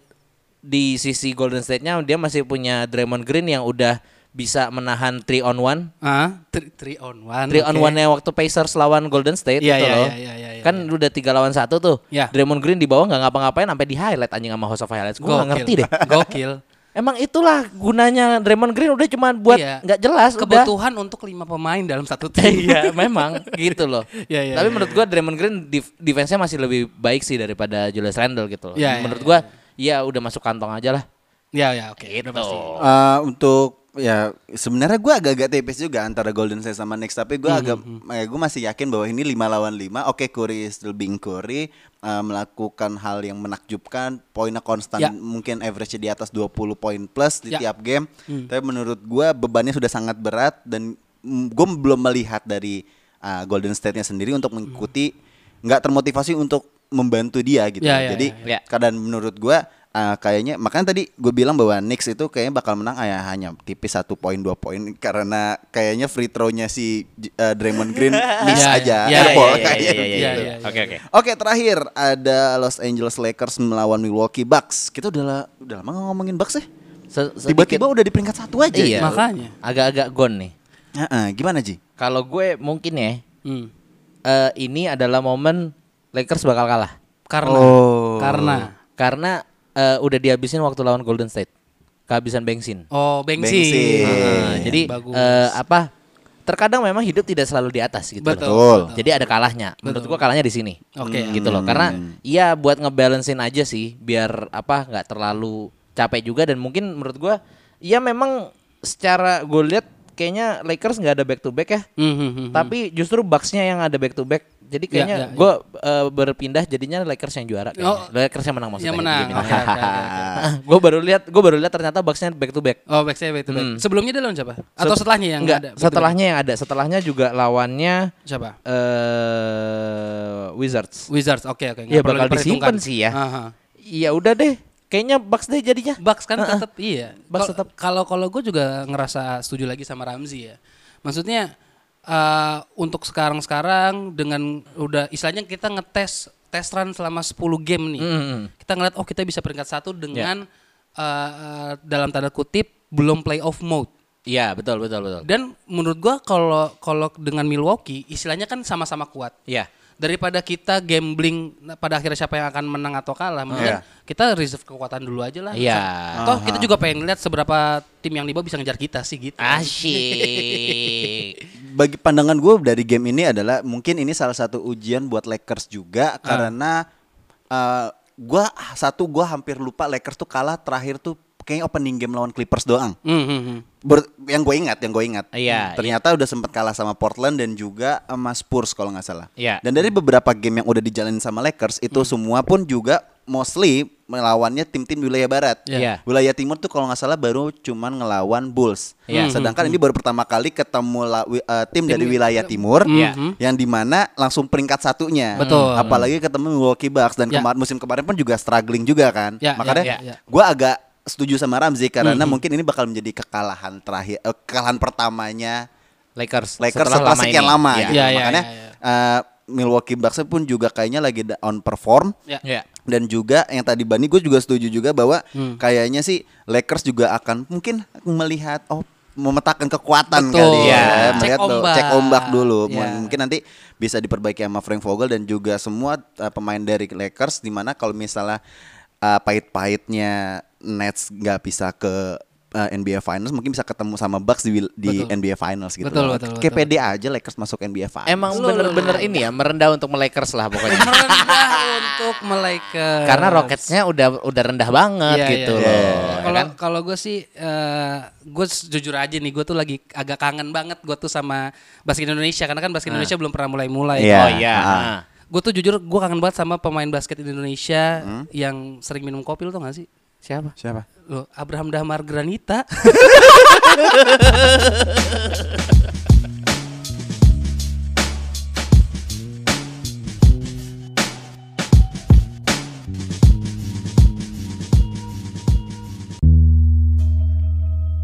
Speaker 1: di sisi Golden State-nya dia masih punya Draymond Green yang udah bisa menahan 3 on 1.
Speaker 3: Ah, three, three on one.
Speaker 1: 3 on
Speaker 3: oke.
Speaker 1: 1-nya waktu Pacers lawan Golden State
Speaker 3: Iya,
Speaker 1: itu
Speaker 3: iya,
Speaker 1: loh.
Speaker 3: iya, iya, iya, iya.
Speaker 1: kan udah 3 lawan 1 tuh.
Speaker 3: Iya.
Speaker 1: Draymond Green di bawah nggak ngapa-ngapain sampai di highlight anjing sama House of Highlights. Gua nggak
Speaker 3: Gokil.
Speaker 1: ngerti deh.
Speaker 3: Gokil.
Speaker 1: Emang itulah gunanya Draymond Green udah cuma buat
Speaker 3: Iya.
Speaker 1: nggak jelas udah.
Speaker 3: Kebutuhan untuk lima pemain dalam satu tim.
Speaker 1: Iya, memang gitu loh.
Speaker 3: Iya, iya,
Speaker 1: Tapi
Speaker 3: iya,
Speaker 1: menurut gua Draymond Green dif- defense-nya masih lebih baik sih daripada Julius Randle gitu loh.
Speaker 3: Iya, iya,
Speaker 1: menurut
Speaker 3: iya,
Speaker 1: gua ya udah masuk kantong aja lah.
Speaker 3: Ya, ya, oke.
Speaker 1: Gitu.
Speaker 3: udah pasti.
Speaker 2: Eh, untuk ya sebenarnya gue agak-agak tipis juga antara Golden State sama Knicks tapi
Speaker 3: Hmm,
Speaker 2: gue agak eh, gue masih yakin bahwa ini 5 lawan 5 oke Curry is still being Curry eh, melakukan hal yang menakjubkan poinnya konstan
Speaker 3: Ya.
Speaker 2: mungkin average di atas 20 poin plus di
Speaker 3: Ya.
Speaker 2: tiap game tapi menurut gue bebannya sudah sangat berat dan gue belum melihat dari eh, Golden State-nya sendiri untuk mengikuti nggak termotivasi untuk membantu dia gitu
Speaker 3: Hmm. Ya, ya,
Speaker 2: jadi
Speaker 1: ya, ya.
Speaker 2: keadaan menurut gua eh, kayaknya makanya tadi gue bilang bahwa Knicks itu kayaknya bakal menang ah, hanya tipis satu poin dua poin karena kayaknya free throw-nya si J- eh, Draymond Green miss
Speaker 3: Ya,
Speaker 2: aja
Speaker 3: ya,
Speaker 1: Iya,
Speaker 2: airball
Speaker 1: iya, iya,
Speaker 2: kayaknya
Speaker 1: iya, iya,
Speaker 2: gitu.
Speaker 1: iya, iya.
Speaker 3: gitu.
Speaker 1: Oke, oke.
Speaker 2: Oke terakhir ada Los Angeles Lakers melawan Milwaukee Bucks. Kita udah la- udah lama nggak ngomongin Bucks ya.
Speaker 1: Se- sedikit-
Speaker 2: Tiba-tiba udah di peringkat satu aja.
Speaker 1: Iya.
Speaker 3: Makanya.
Speaker 1: Agak-agak gone nih.
Speaker 2: Heeh, gimana Ji?
Speaker 1: Kalau gue mungkin ya
Speaker 3: Hmm.
Speaker 1: eh, ini adalah momen Lakers bakal kalah
Speaker 3: Karena,
Speaker 2: Oh.
Speaker 3: karena.
Speaker 1: karena eh, udah dihabisin waktu lawan Golden State. kehabisan bensin.
Speaker 3: Oh, bensin.
Speaker 2: Bensin.
Speaker 3: Ah,
Speaker 1: Nah,
Speaker 2: Iya.
Speaker 1: jadi
Speaker 3: Bagus.
Speaker 1: eh, apa? Terkadang memang hidup tidak selalu di atas gitu.
Speaker 3: Betul.
Speaker 2: Betul.
Speaker 1: Jadi ada kalahnya. Menurut gua kalahnya di sini.
Speaker 3: Oke.
Speaker 1: Gitu loh. Karena iya buat ngebalancein aja sih biar apa nggak terlalu capek juga dan mungkin menurut gua ya memang secara gue lihat kayaknya Lakers nggak ada back to back ya.
Speaker 3: Mhm, mhm.
Speaker 1: Tapi justru Bucks-nya yang ada back to back. Jadi kayaknya
Speaker 3: ya, ya.
Speaker 1: gue berpindah jadinya Lakers yang juara kayaknya.
Speaker 3: Oh.
Speaker 1: Lakers yang menang maksudnya. ya.
Speaker 3: Yang menang. Oke, oke, oke, oke.
Speaker 1: gue baru lihat, gue baru lihat ternyata Bucks-nya back to back.
Speaker 3: Oh, back saya back to back. Sebelumnya dia lawan siapa? Atau
Speaker 1: Set-
Speaker 3: setelahnya yang
Speaker 1: enggak,
Speaker 3: ada? back to back?
Speaker 1: Hmm. setelahnya yang ada, setelahnya juga lawannya
Speaker 3: siapa?
Speaker 1: eh Wizards.
Speaker 3: Wizards. Oke, oke. nggak
Speaker 1: Iya,
Speaker 3: perlu
Speaker 1: bakal
Speaker 3: diperhitungkan.
Speaker 1: disimpan sih ya.
Speaker 3: Aha.
Speaker 1: Iya udah deh, kayaknya Bucks deh jadinya.
Speaker 3: Bucks kan tetap iya.
Speaker 1: Bucks
Speaker 3: Kal-
Speaker 1: tetap.
Speaker 3: Kalau kalau gue juga ngerasa setuju lagi sama Ramzi ya. Maksudnya eh, untuk sekarang-sekarang dengan udah istilahnya kita ngetes tes run selama 10 game nih.
Speaker 1: Hmm.
Speaker 3: Kita ngeliat oh kita bisa peringkat satu dengan eh, eh, dalam tanda kutip belum playoff mode.
Speaker 1: Iya betul betul betul.
Speaker 3: Dan menurut gua kalau kalau dengan Milwaukee istilahnya kan sama-sama kuat.
Speaker 1: Iya.
Speaker 3: Daripada kita gambling nah, pada akhirnya siapa yang akan menang atau kalah, mendingan kita reserve kekuatan dulu aja lah.
Speaker 1: Iya.
Speaker 3: Toh kita juga pengen lihat seberapa tim yang di bawah bisa ngejar kita sih gitu.
Speaker 1: Ah, Asyik.
Speaker 2: bagi pandangan gue dari game ini adalah mungkin ini salah satu ujian buat Lakers juga karena eh, gua satu gua hampir lupa Lakers tuh kalah terakhir tuh kayaknya opening game lawan Clippers doang.
Speaker 3: Hmm, hmm, hmm.
Speaker 2: Ber- yang gue ingat, yang gue ingat. Hmm,
Speaker 1: Iya,
Speaker 2: Ternyata udah sempat kalah sama Portland dan juga sama Spurs kalau nggak salah.
Speaker 1: Iya. Hmm.
Speaker 2: Dan dari beberapa game yang udah dijalanin sama Lakers itu semua pun juga mostly melawannya tim-tim di wilayah barat.
Speaker 1: Iya.
Speaker 2: Wilayah timur tuh kalau nggak salah baru cuman ngelawan Bulls. Hmm.
Speaker 1: Iya.
Speaker 2: Sedangkan ini baru pertama kali ketemu la- wi- eh, tim dari wilayah timur
Speaker 1: Iya.
Speaker 2: yang dimana langsung peringkat satunya.
Speaker 3: Betul.
Speaker 2: Apalagi ketemu Milwaukee Bucks dan
Speaker 3: Ya.
Speaker 2: kemarin musim kemarin pun juga struggling juga kan.
Speaker 3: Ya,
Speaker 2: Makanya
Speaker 3: ya, Hmm. ya, ya.
Speaker 2: gue agak setuju sama Ramzi karena mungkin ini bakal menjadi kekalahan terakhir eh, kekalahan pertamanya
Speaker 1: Lakers.
Speaker 2: Lakers setelah,
Speaker 1: ini.
Speaker 2: sekian lama
Speaker 1: Iya.
Speaker 2: gitu.
Speaker 3: Ya, ya,
Speaker 2: Makanya
Speaker 3: ya,
Speaker 2: eh, Milwaukee Bucks pun juga kayaknya lagi da- on perform
Speaker 3: Ya.
Speaker 1: Iya.
Speaker 2: dan juga yang tadi Bani gue juga setuju juga bahwa
Speaker 3: Hmm.
Speaker 2: kayaknya sih Lakers juga akan mungkin melihat oh memetakan kekuatan
Speaker 3: Betul.
Speaker 2: kali
Speaker 1: Iya.
Speaker 2: ya,
Speaker 3: Cek
Speaker 2: melihat dulu,
Speaker 3: ombak.
Speaker 2: cek ombak dulu. Mu-
Speaker 3: Iya.
Speaker 2: Mungkin nanti bisa diperbaiki sama Frank Vogel dan juga semua uh, pemain dari Lakers di mana kalau misalnya uh, pahit-pahitnya Nets nggak bisa ke uh, NBA Finals mungkin bisa ketemu sama Bucks di, wil- di
Speaker 3: Betul.
Speaker 2: NBA Finals gitu.
Speaker 3: Betul,
Speaker 2: loh.
Speaker 3: betul, betul.
Speaker 2: Kayak pede aja Lakers masuk NBA Finals.
Speaker 1: Emang bener-bener ini ya merendah untuk melakers lah pokoknya.
Speaker 3: Merendah untuk Lakers.
Speaker 1: Karena Rockets-nya udah udah rendah banget
Speaker 3: Iya,
Speaker 1: gitu
Speaker 3: iya,
Speaker 1: loh.
Speaker 3: iya.
Speaker 1: ya
Speaker 3: Kalau
Speaker 1: kan?
Speaker 3: kalau gue sih, eh, gue s- jujur aja nih, gue tuh lagi agak kangen banget gue tuh sama basket Indonesia karena kan basket Indonesia belum pernah mulai-mulai.
Speaker 2: Iya.
Speaker 1: Oh Ah. iya.
Speaker 2: Ah.
Speaker 1: nah.
Speaker 3: Gue tuh jujur gue kangen banget sama pemain basket Indonesia
Speaker 1: Hmm?
Speaker 3: yang sering minum kopi lo tau gak sih?
Speaker 1: Siapa?
Speaker 2: Siapa?
Speaker 3: Lo Abraham Damar Granita.